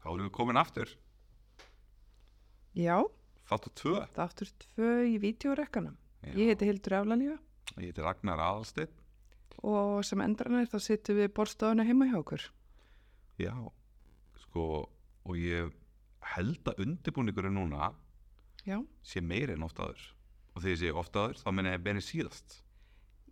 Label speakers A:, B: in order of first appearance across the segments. A: Þá erum við komin aftur
B: Já,
A: Þáttu tvö
B: þáttur tvö í vídeorekkanum.
A: Já.
B: Ég heiti Hildur Eflanía
A: Ég heiti Ragnar Aðalsteinn
B: og sem endranir þá sittum við borstofuna heima hjá okkur.
A: Já Sko og ég held að undirbúningurinn núna
B: Já,
A: sé meiri en oft áður og þegar ég sé oft áður þá menna ég benni síðast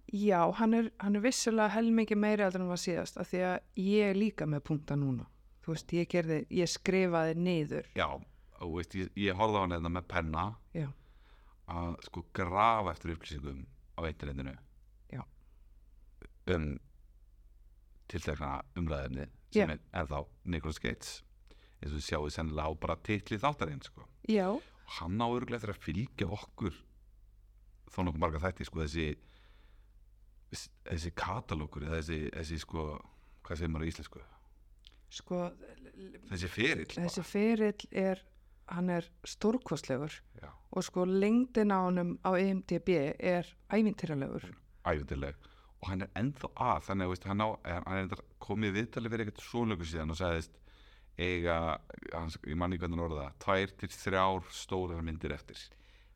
B: Já hann, er, hann er vissulega helmingi meiri aldrei en var síðast af því að ég er líka með punkta núna. Þú veist, ég, gerði, ég skrifaði niður.
A: Já og veist ég, ég horfði á hann eða með penna
B: Já,
A: að sko grafa eftir upplýsingum á internetinu
B: Já.
A: um tiltekna umræðinni sem
B: Já.
A: er, er þá Nicholas Gates eins og við sjáum sennilega á bara titli þáttarinn sko.
B: já,
A: og hann á örgulega eftir að fylgja okkur þó nokkuð marga þætti sko þessi þessi katalókur eða þessi, þessi sko hvað segir maður í íslensku
B: sko,
A: þessi ferill bara.
B: þessi ferill er, hann er stórkostlegur
A: Já.
B: og sko lengdin á honum á E IMDB er ævintýralegur.
A: æfintileg og hann er ennþá að þannig að veist, hann, á, hann hann er reyndar komið í viðtalið fyrir eitthvað svonlöku síðan og sagðist eiga, hans, ég manni hvernig orða tvær til þrjár stórar myndir eftir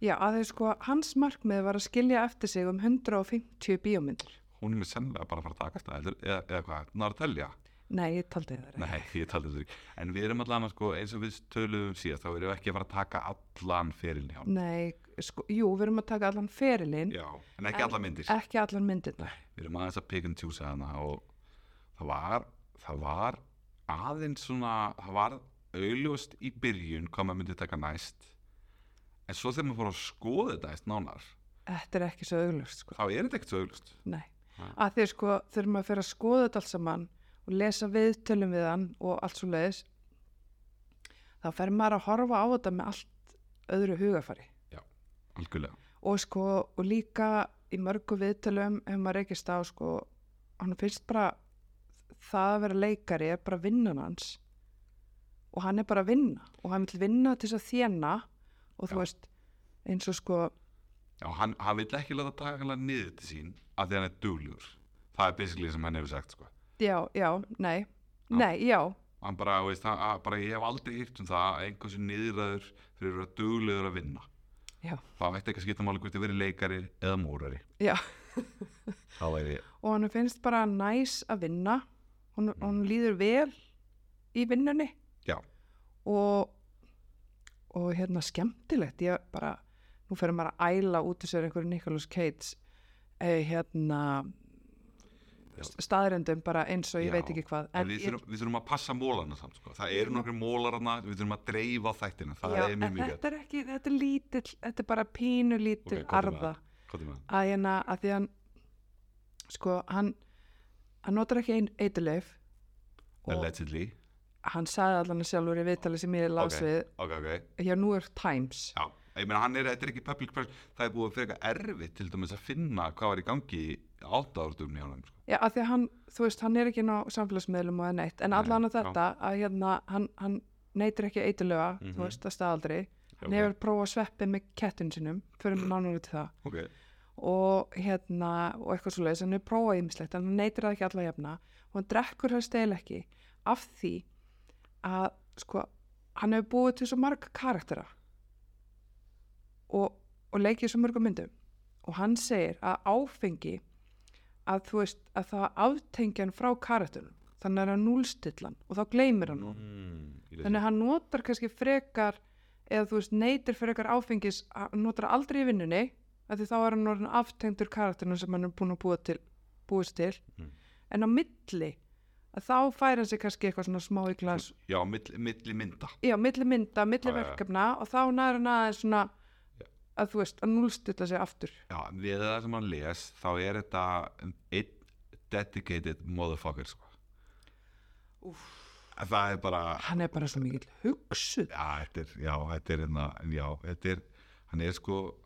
B: Já, að þau sko, hans markmið var að skilja eftir sig um 150 bíómyndir.
A: hún er mér sennilega bara að fara að takast það heldur, eða, eða hvað, náður að telja
B: Nei, ég taldi það ekki.
A: nei, ég taldi þetta ekki, en við erum allan sko, eins og við töluðum síðast, þá erum við ekki að fara að taka allan ferilin hjá hann
B: Nei, sko, jú, við erum að taka allan ferilinn,
A: já, en ekki
B: En-
A: allar myndir
B: ekki allan myndirna.
A: við erum aðeins að pick and choose hana og það var, það var aðeins svona, það var auðljóst í byrjun hvað maður myndi taka næst en svo þegar maður fór að skoða þetta næst nánar
B: Þetta er ekki svo auglust, sko.
A: þá er þetta ekkert svo auðljóst
B: Nei.
A: Ha.
B: Að því, sko, þurfum að fyrir að skoða þetta alls saman og lesa viðtölum við hann og allt svo leiðis, þá fer maður að horfa á þetta með allt öðru hugafari.
A: algjörlega,
B: og sko og líka í mörgu viðtölum ef maður reykist á sko hann finnst bara það að vera leikari er bara vinnan hans og hann er bara að vinna og hann vil vinna til þess að þjena og þú
A: Já.
B: veist eins og sko
A: já, hann, hann vil ekki láta taka hann niður til sín af því að hann er dugljur það er basically sem hann hefur sagt sko.
B: já, já, nei, nei, já
A: hann bara, veist, hann, að- bara ég hef aldrei hýrt um það að einhversu niðurraður fyrir að vera dugljur að vinna
B: Já.
A: þá ætti ekki að skipta máli hvort þið verið leikari eða múrari
B: já,
A: þá væri
B: og hann finnst bara næs að vinna hún, mm. hún líður vel í vinnunni
A: Já.
B: og og hérna skemmtilegt ég bara, nú fyrir maður að æla út í sér einhverju Nicholas Cates eh, hérna
A: Já.
B: staðrendum bara eins og ég
A: Já.
B: veit ekki hvað
A: En við þurfum, við þurfum að passa mólana samt sko. það eru nokkri mólarna, við þurfum að dreifa þættina, það
B: já,
A: er
B: en
A: mjög mjög
B: þetta er ekki, þetta er lítill þetta er bara pínu lítill
A: Ok, komdu með
B: arða
A: gæt
B: að hérna að því hann sko hann hann notar ekki ein, eituleif
A: allegedly
B: hann sagði allan sjálfur í viðtali sem ég las
A: Ok. ok, ok,
B: við hjá New York Times
A: já, ég meina hann er, þetta er ekki public person, það er búið að fyrir eitthvað erfitt til dæmis að finna hvað var í gangi áttártum hjá hann sko.
B: Já, af því að hann, þú veist, hann er ekki ná samfélagsmiðlum og það neitt, en
A: Nei,
B: allan á
A: já.
B: þetta að hérna, hann, hann neytir ekki eitilöga,
A: Mhm.
B: þú veist, að staðaldri hann
A: sko. Ok,
B: hefur prófað að sveppi með kettun sinum fyrir nánum út í það
A: ok,
B: og hérna, og eitthvað svo leiðis hann hefur prófað ímislegt, en hann neytir það ekki alla jafna og hann drekkur það stel ekki af því að sko, hann hefur búið til svo marga karaktera og, og leikið svo mörgum myndum og hann segir að áfengi að þú veist að það aftengja hann frá karakterunum þannig er hann núlstillan og þá gleymir hann mm.
A: Mm, ég lesi.
B: þannig að hann notar kannski frekar eða þú veist neytir frekar áfengis hann notar það aldrei í vinnunni af því þá er hann orðin aftengdur karakterunum sem hann er búin að búa til, búist til
A: Mhm.
B: en á milli að þá fær hann sig kannski eitthvað svona smá í glas
A: já, milli, milli mynda
B: já, milli mynda, milli
A: Já, já, já.
B: verkefna og þá næra hann aðeins svona
A: Já.
B: að þú veist, að núlstilla sig aftur
A: já, við það sem hann les þá er þetta um einn dedicated motherfucker sko.
B: Úff.
A: það er bara
B: hann er bara svo mikill hugsuð
A: Já, þetta er, já, þetta er, hérna, já, þetta er, hann er sko,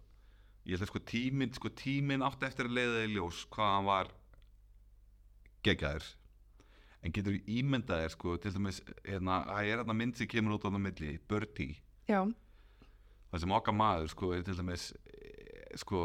A: ég held að sko tíminn, sko tíminn átti eftir að leiða í ljós hvað hann var geggjaður. En getur þú ímyndað þér sko, til dæmis, hérna, það er hérna mynd sem kemur út á það milli, Birdie,
B: já,
A: það sem okkar maður sko er til dæmis, eh, sko,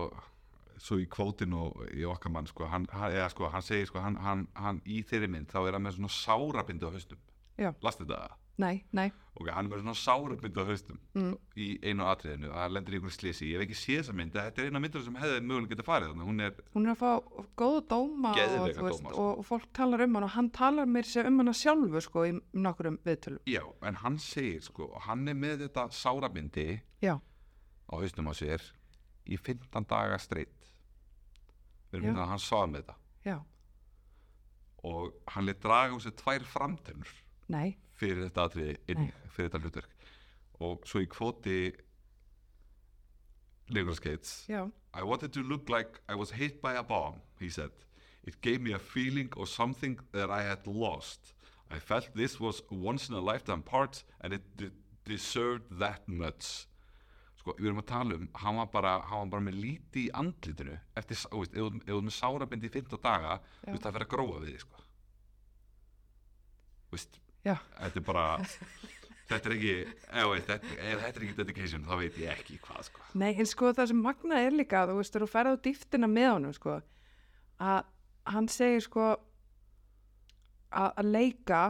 A: svo í kvótinu í okkar mann sko, hann, hann, eða, sko, hann segir sko, hann, hann, hann í þeirri mynd, þá er hann með svona sárabindi á haustum.
B: Já.
A: Lastu þetta?
B: nei, nei
A: ok, hann verður svona sárumynd á haustum
B: Mm.
A: í einu atriðinu, að hann lendir í einhverjum slisi ég hef ekki séð þessa mynd, en þetta er eina myndur sem hefði mögulega getað farið þannig, hún er,
B: hún er að fá góða dóma og,
A: Geðveika
B: þú veist,
A: dóma, sko.
B: og, og fólk talar um hann og hann talar mér sér um hana sjálfu sko í nokkurum viðtölum
A: já, en hann segir sko, og hann er með þetta sárumyndi
B: já,
A: á haustum á sér í 15 daga streitt við
B: Já.
A: erum hérna að hann sá með þetta
B: já,
A: og hann leitt draga úr sér tvær framtennur
B: nei
A: fyrir þetta atriði inn,
B: Nei.
A: fyrir þetta hlutverk og svo í kvoti Nicolas Gates
B: já,
A: I wanted to look like I was hit by a bomb, he said. It gave me a feeling of something that I had lost. I felt this was a once in a lifetime part and it de deserved that much. Sko, við erum að tala um, hann var bara, hann var bara með líti í andlitinu eftir, sá- þú veist, ef þú ef þú ert með sárabindi í 15 daga,
B: Já.
A: þú veist, það verður að gróa við þig, sko. Þú veist,
B: já,
A: þetta er bara, þetta er ekki, ef þetta, ef þetta er ekki dedication, þá veit ég ekki hvað, sko.
B: nei, en sko það sem magna er líka, þú veist, þegar þú ferð á dýftina með honum sko, að hann segir sko að að leika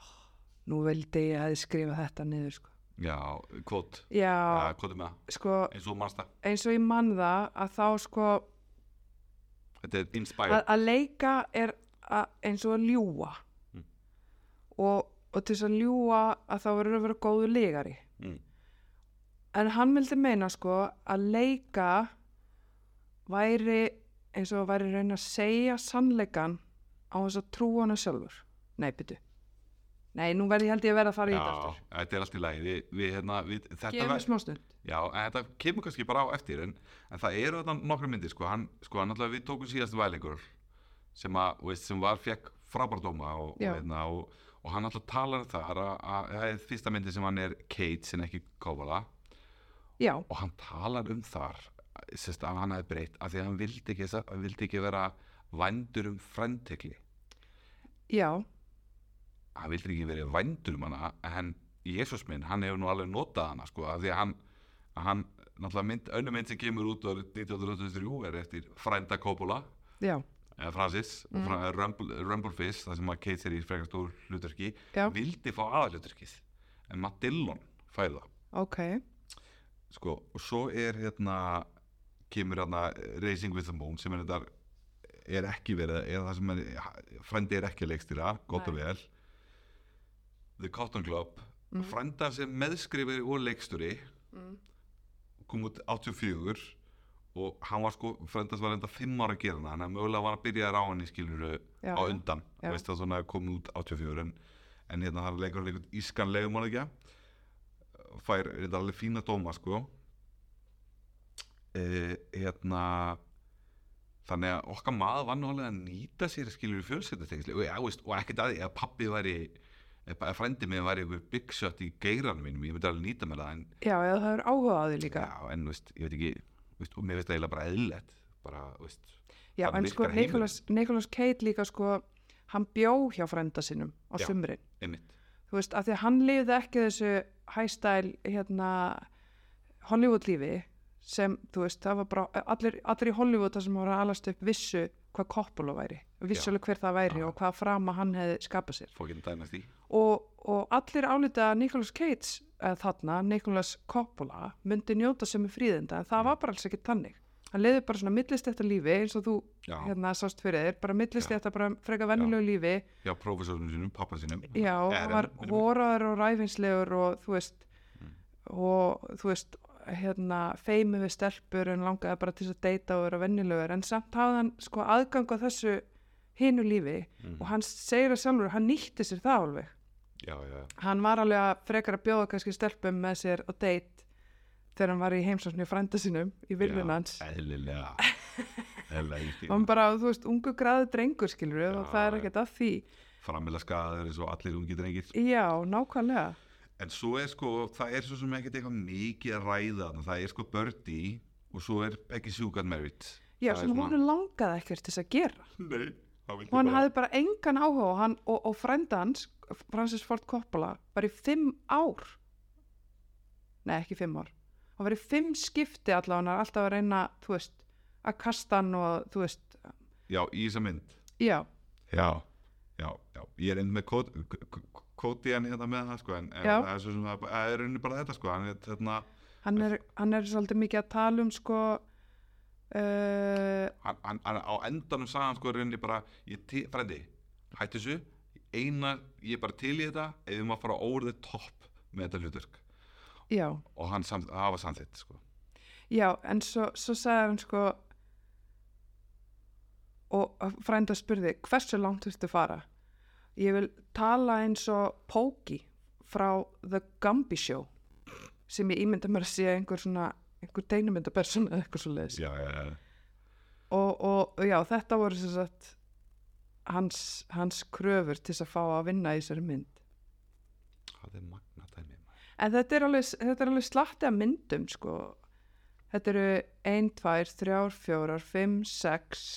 B: Ó, nú vildi ég að skrifa þetta niður sko,
A: Já, kvot.
B: já,
A: Já, hvað er með það?
B: sko
A: eins og mannsta
B: eins og ég mann það að þá sko
A: þetta er
B: að,
A: inspired
B: að leika er að, eins og að ljúa
A: Mm.
B: og, og til þess að ljúa að þá verður að vera góðu leikari
A: mm.
B: en hann vildi meina sko að leika væri eins og væri raun að segja sannleikan á þess að trúa hana sjálfur nei, byttu nei, nú verði ég held ég að vera að fara í
A: já,
B: þetta aftur
A: þetta er allt í lagi við, við, hérna, við, þetta,
B: gefum
A: ver,
B: við smá stund
A: já, en þetta kemur kannski bara á eftir en, en það eru þarna nokkra myndir sko, hann, sko, hann alltaf við tókum síðast vælingur sem, að, þú veist, sem var fekk frábærdóma og, og,
B: Já.
A: hérna, og, og hann alltaf talar um þar að, að, að, að fyrsta myndi sem hann er Kate sem ekki Kovala
B: já,
A: og hann talar um þar sérst, að hann hefði breytt af því að hann vildi ekki, þessa- hann vildi ekki vera vandur um frentekli
B: já,
A: hann vildi ekki verið vændur um hana en Jésús minn, hann hefur nú alveg notað hana sko, af því að hann, að hann náttúrulega mynd, önnur mynd sem kemur út árið 1923 er eftir frænda Coppola
B: já,
A: eða Francis, mm. frá, Rumble, Rumblefish þar sem að Kate er í frekar stór hluturki
B: Já.
A: vildi fá aðalhluturkið en Matt Dillon fær það
B: ok
A: sko, og svo er hérna kemur hérna Racing with the Moon sem er þetta er ekki verið, er það sem er, frændi er ekki að leikstýra, gott og
B: Nei.
A: vel The Cotton Club frænda sem meðskrifir og leikstýri
B: Mm.
A: kom út 84 og hann var sko, frænda sem var enda 5 ára að gera hana, hann er mögulega var að byrja að rá hann í skiluru
B: já,
A: á undan,
B: Já.
A: veist það svona komið út 84 en, en hérna það leikur leikur ískan legum hann ekki fær þetta alveg fína dóma sko e, hérna þannig að okkar maður var nú alveg að nýta sér skilur í fjölsetatengsli og, ja, veist, og ekkert að því að pappi væri eh, eða frændi mig væri ykkur big shot í geiranum mínum, ég myndi alveg nýta með það en,
B: já, eða það er áhuga á því líka
A: já, en veist, ég veit ekki veist, og mér veist það eiginlega bara eðlilegt bara, veist,
B: Já,
A: Þannig
B: en sko
A: virkar heimurinn.
B: Nicholas, Nicholas Cage líka sko, hann bjó hjá frænda sinum á
A: Já.
B: sumrin.
A: einmitt
B: Þú veist, af því að hann lifði ekki þessu hæstæl hérna Hollywood lífi sem, þú veist, það var bara allir, allir í Hollywood það sem voru að alast upp vissu hvað Coppola væri, vissu
A: Já.
B: alveg hver það væri
A: Já.
B: og hvað frama hann hefði skapað sér.
A: fókinn dænast í
B: Og, og allir álita að Nicholas Cage eða þarna, Nicholas Coppola myndi njóta sem er fríðinda, en það
A: Mm.
B: var bara alls ekki tannig. Hann leiði bara svona millist eftir lífi eins og þú
A: já,
B: hérna sást fyrir þér, bara millist þetta bara freka vennilegu lífi,
A: já Mm-hmm. prófessornum sínum, pappa sínum
B: já, hann
A: Aaron,
B: var
A: minnum mig.
B: voraður og ræfinslegur og þú veist
A: Mm.
B: og þú veist hérna, feimi við stelpur en langaði bara til þess að deyta og vera vennilegur en samt hafði hann sko aðgang á þessu hinu lífi
A: Mm.
B: og hann segir að sjálfur, hann nýtti sér það alveg
A: Mhm. já, já, já
B: hann var alveg að frekar að bjóða kannski stelpum með sér og deyt þegar hann var í heimsóknu frænda sinum í
A: Já,
B: viljuna hans
A: eðlilega eðlilega
B: og hann
A: ekki.
B: bara, þú veist, ungu graði drengur skilur við og
A: Já,
B: það er
A: já.
B: ekkert að því
A: framilega skadaður eins og allir ungi drengir
B: Já, nákvæmlega.
A: en svo er sko, það er svo sem ekkert eitthvað mikið að ræða þarna. það er sko Birdie og svo er ekki sjúkan merit
B: Já,
A: Það er
B: svona hún langaði ekkert til þess að gera.
A: nei, það
B: Og hann hafði bara engan áhuga og, hann, og, og frænda hans, Francis Ford Coppola, var í fimm ár. Nei, ekki fimm ár. Hann var í fimm skipti allavega, hann er alltaf að reyna, þú veist, að kasta hann og, þú veist,
A: já, í þessa mynd
B: já,
A: já, já, já, ég er einn með kóti hann hérna með það sko en, en
B: Já.
A: það er svo sem það það er rauninni bara þetta sko hann er þarna
B: hann er, hann er svolítið mikið að tala um sko uh,
A: hann, hann, hann á endanum sagði hann sko í rauninni bara ég til, frendi, hættu þessu eina, ég er bara til í þetta ef við maður fara over the top með þetta hluturk
B: já,
A: og hann sam, hafa samþitt sko
B: já en svo, svo sagði hann sko og frænda spurði hversu langt viltu fara ég vil tala eins og Póki frá The Gumby Show sem ég ímynda mér að sé einhver svona einhver teinumyndapersona eða eitthvað svo leiðis
A: já, já, já,
B: og, og og já, þetta voru sem sagt hans, hans kröfur til þess að fá að vinna í þessari mynd
A: það er magna dæmi maður.
B: en þetta er alveg, þetta er alveg slatti af myndum sko þetta eru ein, tvær, þrjár, fjórar, fimm, sex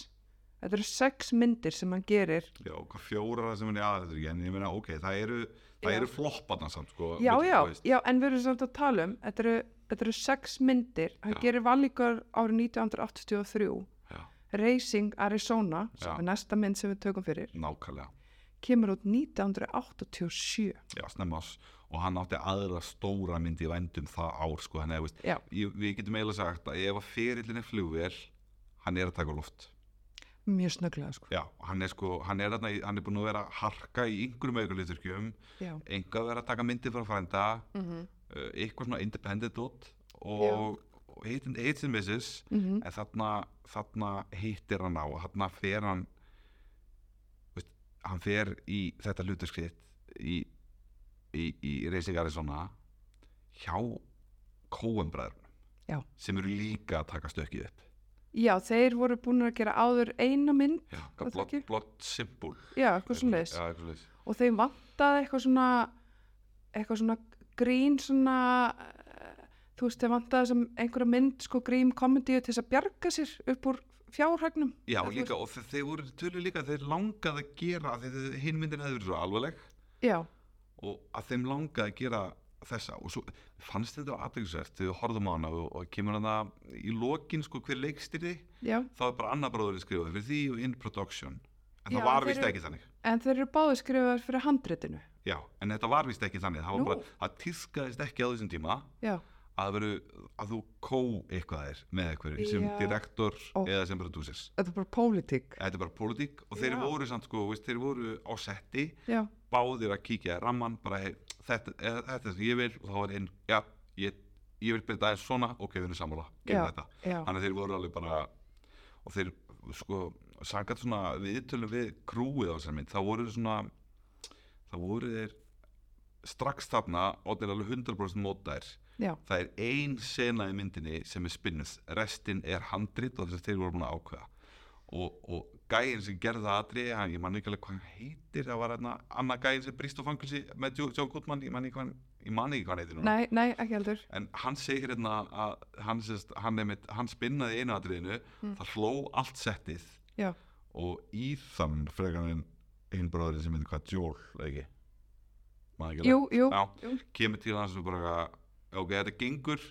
B: þetta eru sex myndir sem hann gerir
A: já, og hvað fjórar það sem hann er aðeins en ég meina, ok, það eru það
B: Já.
A: eru flopparna samt sko
B: já,
A: vill-
B: já,
A: þú veist.
B: já, en við erum samt að tala um þetta eru, þetta eru sex myndir hann
A: Já.
B: gerir valíkar árið 1983
A: já,
B: Racing Arizona sem
A: Já.
B: er næsta mynd sem við tökum fyrir
A: nákvæmlega
B: kemur út 1987
A: já, snemma ás og hann átti aðra stóra mynd í vændum það ár sko, hann er, veist,
B: Já.
A: ég, við getum eiginlega sagt að ef að ferillin er flugvél hann er að taka á loft
B: mjög snögglega sko
A: já, hann er sko, hann er, þarna í- hann er búin að vera að harka í yngurum auðvitaðlíturkjum
B: já,
A: enga vera að taka myndir frá frænda
B: mm
A: uh, eitthvað svona independent dot og, og hit and hits and misses
B: Mhm.
A: en þarna, þarna hittir hann á og þarna fer hann veist, hann fer í þetta hluturskritt í, í, í Racing Arizona hjá
B: Já.
A: Coen-bræðrunum sem eru líka að taka stökkið upp
B: já, þeir voru búin að gera áður eina mynd
A: Já,
B: það
A: blott,
B: ekki?
A: blott simpul
B: já, eitthvað svona leis
A: Já, eitthvað svoleiðis.
B: og þeim vantaði eitthvað svona eitthvað svona grín svona eh, þú veist, þeim vantaði sem einhverja mynd sko grín komendíu til þess að bjarga sér upp úr fjárhagnum
A: Já,
B: Eða þú
A: líka, og þe- þeir voru tölu líka þeir langaði að gera, þegar hinn myndin hefði verið svo alvarleg
B: veist. já,
A: og að þeim langaði að gera þessa og svo fannst þetta aðeinsvægt þegar við horfðum á hana og, og kemur hana í lokin sko hver leikstýrði
B: já,
A: þá er bara annar bróðurinn skrifaði fyrir því og in production en
B: Já,
A: það var
B: þeir
A: vist
B: eru-
A: ekki þannig
B: en þeir eru báði skrifaðar fyrir handritinu
A: já, en þetta var vist ekki þannig það
B: Nú.
A: var bara, það týrkaðist ekki á þessum tíma
B: já,
A: að, veru, að þú kó eitthvað þér með eitthvað sem
B: Já.
A: direktor
B: Ó.
A: eða sem producers
B: þetta er bara pólitík
A: þetta er bara pólitík og þeir
B: Já.
A: voru samt sko, veist, þeir voru á setti
B: já,
A: báðir að kíkja í ramman bara hey, þetta, eða, þetta er sem ég vil og þá var einn, já, ég, ég vil byrja aðeins svona, ok, við erum sammála,
B: Já,
A: gerum þetta
B: já,
A: þannig að þeir voru alveg bara og þeir, sko, sangat svona viðtölum við krúið á þessar mynd þá voru þeir svona þá voru þeir strax þarna og þeir alveg 100% mótæðir
B: já,
A: það er ein sena í myndinni sem er spinnuð, restin er handrit og þess að þeir voru búin að ákveða og, og gæinn sem gerði það atri hann, ég man ekki alveg hvað hann heitir það var hérna annað gæinn sem brist á fangilsi með Joe, Joe Goodman, ég man ekki hvað hann ég man ekki hvað hann heitir núna
B: nei, nei, ekki heldur
A: en hann segir hérna að hann, sérst, hann, einmitt, hann spinnaði í einu atriðinu
B: Hmm.
A: það hló allt settið
B: já,
A: og í þann frekar en einn bróðurinn sem myndi hvað Joel, eða ekki Man ekki alveg
B: jú, jú,
A: já,
B: jú.
A: kemur til hans og bara eitthvað, ok, þetta gengur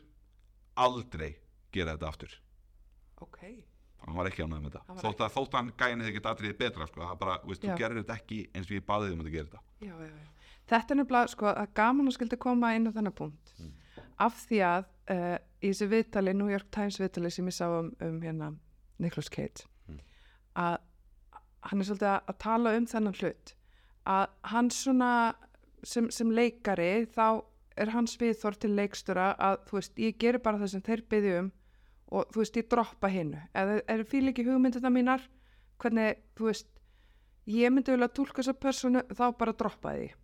A: aldrei gera þetta aftur
B: ok,
A: hann var ekki ánægð með þetta
B: Hann var
A: þótt að þótt að hann gæin hefði gett atriðið betra sko, það bara, veist,
B: Já.
A: þú gerir þetta ekki eins og ég baðið um að gera þetta
B: já, já, já. Þetta er nefnilega, sko, að gaman að skildi koma inn á þennan punkt af því að uh, í þessu viðtali, New York Times viðtali sem ég sá um, um hérna Nicolas Cage að hann er svolítið að, að tala um þennan hlut að hann svona sem, sem leikari þá er hans viðþór til leikstura að þú veist, ég geri bara það sem þeir byrði um og þú veist, ég droppa hinnu eða er fíl ekki hugmyndina mínar hvernig, þú veist ég myndi vilja túlka þessa personu þá bara droppa því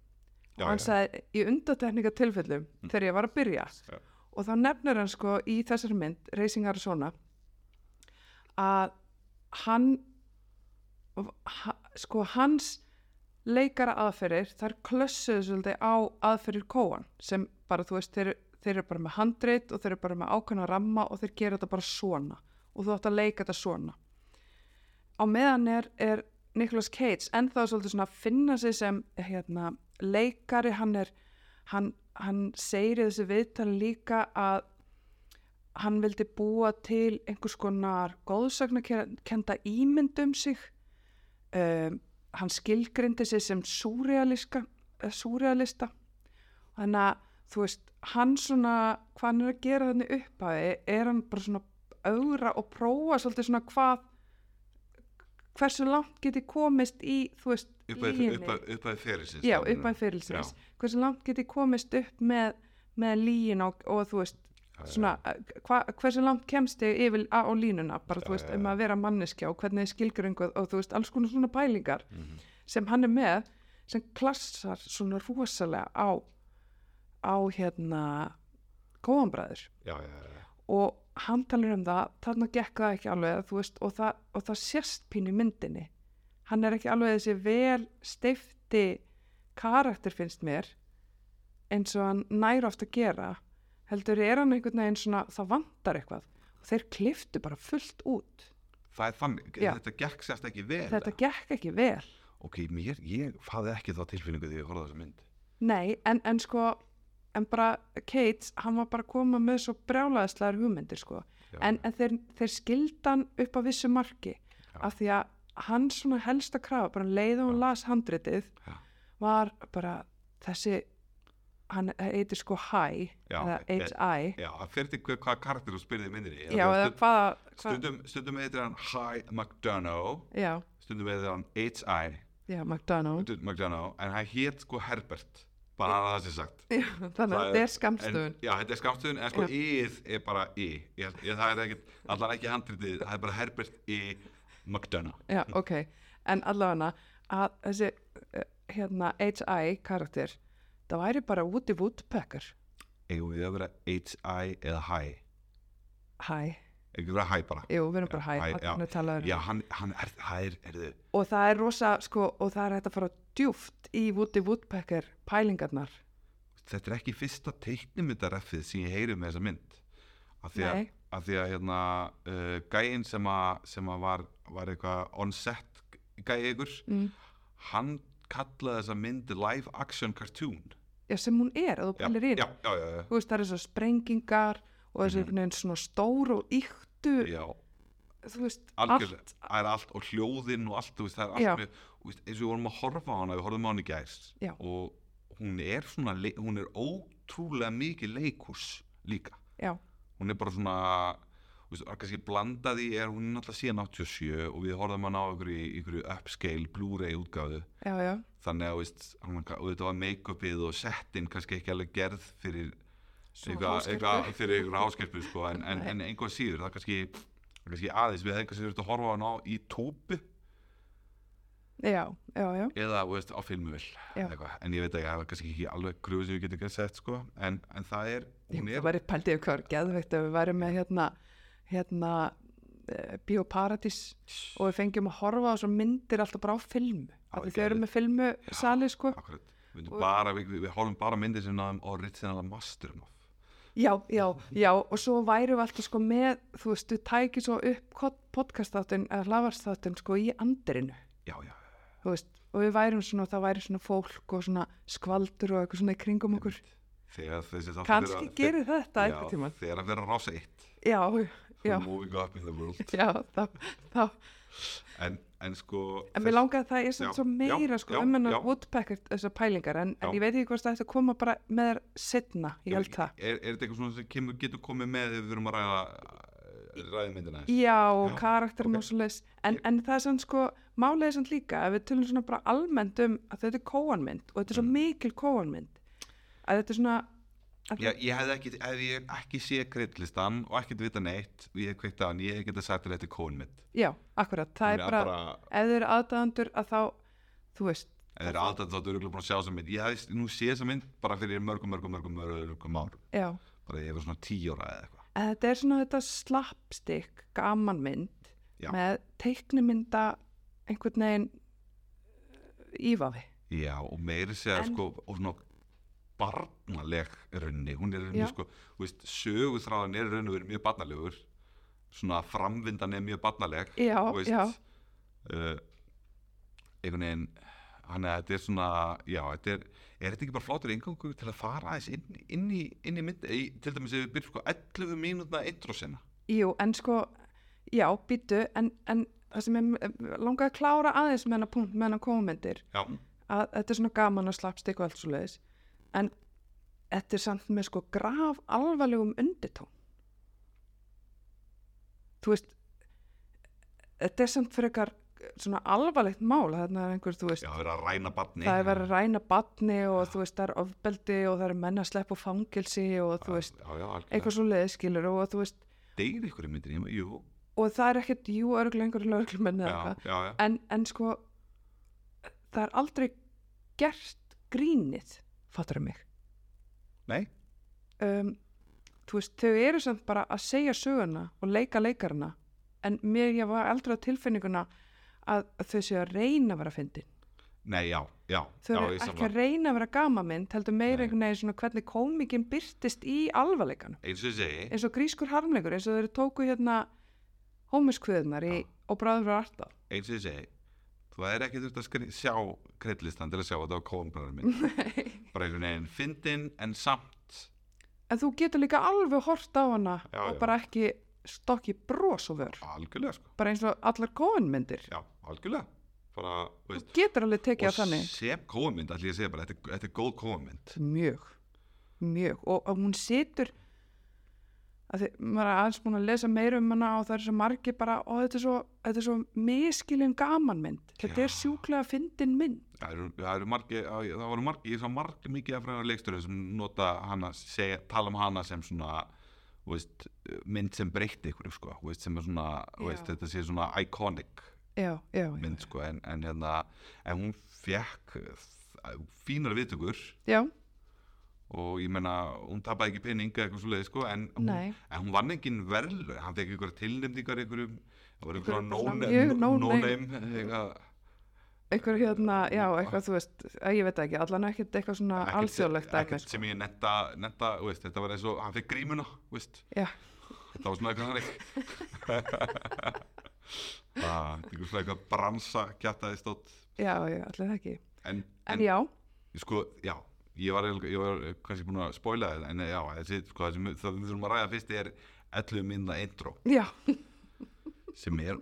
A: Já,
B: og
A: já.
B: hann
A: Mm.
B: sagði í undatekninga tilfellum þegar ég var að byrja
A: Já.
B: og þá nefnir hann sko í þessari mynd Racing Arizona að hann ha, sko hans leikara aðferðir þar klössuðu svolítið á aðferðir kóan sem bara þú veist þeir, þeir eru bara með handrit og þeir eru bara með ákveðna ramma og þeir gera þetta bara svona og þú átt að leika þetta svona á meðan er, er Nicolas Cage ennþá svolítið svona að finna sig sem hérna, leikari hann er hann, hann segir í þessu viðtali líka að hann vildi búa til einhvers konar góðsagnakenda ímynd um sig um, hann skilgrindi sig sem súrealíska súrealista þannig að þú veist, hann svona hvað hann er að gera þannig upphafi er hann bara svona augra og prófa svolítið svona hvað hversu langt geti komist í þú veist,
A: upphæði upphæð ferilsins sko,
B: já, upphæði fyrirlisins hversu langt geti komist upp með, með líin og, og þú veist svona, eh, hva, hversu langt kemst ég yfir á, á línuna, bara þú
A: Já,
B: veist,
A: já,
B: um
A: já.
B: að vera manneskja og hvernig er skilgringuð og þú veist, alls konar svona pælingar
A: mm -hmm.
B: sem hann er með, sem klassar svona rosalega á á hérna góðanbræður
A: já, já, já,
B: og hann talar um það, þarna gekk það ekki alveg, þú veist, og það, og það sérst pínu í myndinni hann er ekki alveg þessi vel steifti karakter finnst mér eins og hann nær oft að gera heldur er hann einhvern veginn svona það vantar eitthvað og þeir kliftu bara fullt út
A: það er þannig,
B: Já.
A: þetta gekk sérst ekki vel
B: þetta gekk ekki vel
A: ok, mér, ég hafði ekki þá tilfinningu þegar ég horfði á þessa mynd
B: nei, en, en sko en bara Kate, hann var bara að koma með svo brjálaðislegar hugmyndir sko
A: já,
B: en, en þeir, þeir skildan upp á vissu marki
A: Já.
B: af því að hans svona helsta krafa bara um leið og hún
A: Já.
B: las handritið
A: Já.
B: var bara þessi hann heitir sko HI
A: Já,
B: eða
A: e-
B: HI
A: já, það fyrir til hver- hvaða karakter þú spyrði í myndinni
B: já, eða
A: stund,
B: hvaða hvað,
A: stundum, stundum heitir hann Hi McDonough
B: já,
A: stundum heitir hann H.I.
B: já, McDonald
A: Stundum McDonough, en hann hét sko Herbert bara að það sé sagt
B: já, þannig að
A: Það
B: þetta
A: er-
B: er skamstöðun
A: En, já, þetta er skamstöðun, en sko
B: Já.
A: íð er bara í. Ég, ég, það er ekkert, allan ekki handritið, það er bara Herbert í McDonough.
B: já, ok, en allavega að þessi eh, hérna HI karakter það væri bara Woody Woodpecker
A: Eigum við að vera H.I. eða H.I.
B: HI,
A: Ekki vera H.I. bara.
B: jú, við erum bara
A: Já,
B: HI
A: HI, já.
B: allan er talaður
A: Já, hann, hann er, það er, er þið,
B: og það er rosa sko, og það er hægt að fara djúft í Woody Woodpecker pælingarnar
A: þetta er ekki fyrsta teiknumyndareffið sem ég heyri með þessa mynd. Af því að,
B: Nei.
A: af því að hérna, uh, gæinn sem að, sem að var, var eitthvað on-set gæi ykkur,
B: mm.
A: hann kallaði þessa mynd live action cartoon.
B: já, sem hún er, að þú
A: Já,
B: pælir inn
A: já, Mhm. já, já, já.
B: þú veist, það eru svo sprengingar og þessi einhvern veginn svona stór og yktu
A: Já,
B: þú veist,
A: Algjörlega.
B: allt
A: það er allt og hljóðinn og allt, þú veist, það er
B: Já.
A: allt mjög, þú veist, eins og við vorum að horfa á hana, við horfum á hana í gærs
B: Já.
A: og hún er svona, le- hún er ótrúlega mikið leikús líka,
B: já,
A: hún er bara svona, þú veist, það er kannski blandað í, er hún er náttúrulega síðan 87 og við horfum hana á ykkur, ykkur upscale, blu-ray útgáðu,
B: já, já,
A: þannig að, þú veist, hann, og þetta var make-upið og settin kannski ekki alveg gerð fyrir
B: svona
A: eitthvað, eitthvað
B: háskertu
A: fyrir einhver háskerpu sko, en, en,
B: Nei.
A: en einhvað síður það er kannski, það er kannski aðeins við hefðum kannski verið að horfa á hann á í tópu
B: já, já, já,
A: eða þú veist, á filmuvel
B: Já.
A: en ég veit ekki, það er kannski ekki alveg gröðu sem við getum ekki sett sko, en, en það er
B: Ég-
A: hún
B: það
A: er,
B: væri pældið ykkur geðveikt ef við væri með hérna hérna eh, Bíóparadís og við fengjum að horfa á svo myndir alltaf bara á filmu
A: það
B: af því þau eru
A: geðveikt.
B: með filmu sali sko
A: akkurat við, myndum
B: Og-
A: bara, við, við horfum bara á myndir sem náðum original masterum of
B: Já, já, já, og svo værum við alltaf sko með, þú veist, við tækið svo upp podcastáttin eða hlavarstáttin sko í andirinu,
A: já, já,
B: þú veist, og við værum svona, það væri svona fólk og svona skvaldur og eitthvað svona í kringum okkur.
A: þegar þessi þáttur
B: Kanski gerir þetta
A: já,
B: einhvern tímann.
A: þegar að vera rása eitt
B: Já, já,
A: moving up in the world
B: já, þá, þá,
A: en, en sko
B: en mér langaði að það er svona
A: Já,
B: svo meira
A: já,
B: sko,
A: já,
B: um hennar
A: já.
B: Woodpecker þessar pælingar, en, en
A: Já.
B: ég veit ekki hvort það ætti að koma bara með þér setna, ég held það.
A: Er, er þetta eitthvað svona sem kemur, getur komið með þegar við erum að eh, ræða ræðmyndina þess?
B: Já, og
A: Já,
B: karakterinn
A: ok.
B: og svoleiðis en, en það er sann sko, málið er sann líka ef við tölum svona bara almennt um að þetta er kóanmynd og þetta er svo
A: Mm.
B: mikil kóanmynd að þetta er svona að
A: Já, ég hefði ekki, ef ég ekki sé kreitlistan og ekkert vita neitt og ég hef kveikt á hann, ég hef getað sagt þér þetta er kóin mitt.
B: já, akkurat, það er bara, ef þau eru aðdæðandur að þá, þú veist
A: Ef þeir eru alltaf þá döruglega búin að sjá þessa mynd. Ég hefði nú séð þessa mynd bara fyrir mörgum, mörgum, mörgum, mörgum, mörgum árum.
B: já,
A: Bara ég hefur svona tíu ára eða eitthvað.
B: en þetta er svona þetta slappstikk gamanmynd
A: Já.
B: með teiknumynda einhvern veginn eh, ífafi
A: Já, og meiri segja
B: En-
A: sko, og svona barnaleg runni. Hún er runni
B: Já.
A: sko, þú veist, söguþráðan er runni verið mjög barnalegur. Svona framvindan er mjög barnaleg.
B: já,
A: Þú veist,
B: já,
A: uh, einhvern veginn hann er þetta er svona já, þetta er, er þetta ekki bara flottur ingangur til að fara aðeins inn, inn, í, inn í mynd í, til dæmis ef við byrjum sko 11 mínútna intro sinna
B: Jú, en sko, já, býtu, en, en það sem ég langaði að klára aðeins með hennar punkt, með hennar komendir,
A: já,
B: að þetta er svona gaman að slappstikk og allt svo leiðis en þetta er samt með sko graf alvarlegum undirtón þú veist þetta er samt fyrir ykkar svona alvarlegt mál þarna er einhver, þú veist,
A: Já, það er að ræna barni
B: það er verið að ræna batni og þú veist, það er ofbeldi og það er menn að sleppa úr fangilsi og þú veist,
A: Já, já, algjörlega
B: eitthvað svo leiðis skilur og þú veist,
A: Deyr ykkur í myndinni, jú
B: og það er ekkert jú örglu einhverju lögreglumenn eða
A: Já,
B: eitthvað
A: já, já
B: en, en sko það er aldrei gert grínið fattur mig
A: Nei,
B: um, þú veist, þau eru samt bara að segja söguna og leika leikarana en mér ég var aldrei á tilfinninguna að þau séu að reyna að vera fyndin
A: nei, já, já
B: þau
A: já,
B: eru
A: ég
B: ekki
A: sammála.
B: að reyna að vera gamamynd heldur meira
A: Nei.
B: einhvern veginn svona hvernig komikinn byrtist í alvarleikanum
A: Eins og ég segi,
B: eins og grískur harmleikur eins og þeir tóku hérna hómuskvöðunar í
A: Já.
B: og bráður frá arta
A: eins og ég segi Þú er ekki þurft að skri- sjá kreitlistan til að sjá að það var kónbræður minn Bara einhvern veginn fyndin en samt
B: en þú getur líka alveg hort á hana
A: Já,
B: og
A: já.
B: bara ekki stokki bros og vör
A: Algjörlega, sko
B: bara eins og allar kóinmyndir
A: Já, algjörlega Bara, þú
B: þú
A: veist
B: getur alveg tekið
A: Og
B: af þannig
A: sem kóamynd, allir ég segi bara, þetta, er- þetta er góð kóamynd
B: mjög, mjög og, og hún situr að því, maður er aðeins búin að lesa meira um hana og það er svo margi bara og þetta er svo, þetta er svo miskilin gamanmynd þetta
A: Já.
B: er sjúklega fyndin mynd
A: Það eru, það eru margi, það voru margi, ég sá margi mikið af fræðar leikstöru sem nota hana, segja, tala um hana sem svona, þú veist, mynd sem breytti ykkur, sko, þú veist, sem er svona, þú veist,
B: Já.
A: þetta sé svona iconic
B: já, já, já,
A: mynd, sko, en, en hérna, en hún fekk eh, fínar viðtökur
B: já,
A: og ég meina, hún tapaði ekki pening eða eitthvað svoleiði, sko, en hún,
B: Nei.
A: en hún vann engin verðlu, hann fekk ykkur tilnefningar ykkurum, það voru
B: Einhverjum
A: ykkur
B: svona mjög
A: no-name,
B: no name.
A: no-name, eitthvað,
B: einhver hérna já, eitthvað þú veist, að ég veit það ekki allan ekkert eitthvað svona
A: Ekkert-
B: alþjóðlegt sko. dæmi,
A: ekkert sem ég netta, netta þú veist, þetta var eins og hann fekk grímuna þú veist,
B: sko. já,
A: þetta var svona eitthvað þannig Ah, þetta er svona eitthvað bransa kjartaði stótt
B: já, já, allir það ekki
A: en,
B: en, já,
A: sko, já ég var, eiginlega- ég var kannski búin að spoila þetta en já, þessi, sko, þessi, það við þurfum að ræða fyrst er 11 minna intro
B: já,
A: sem er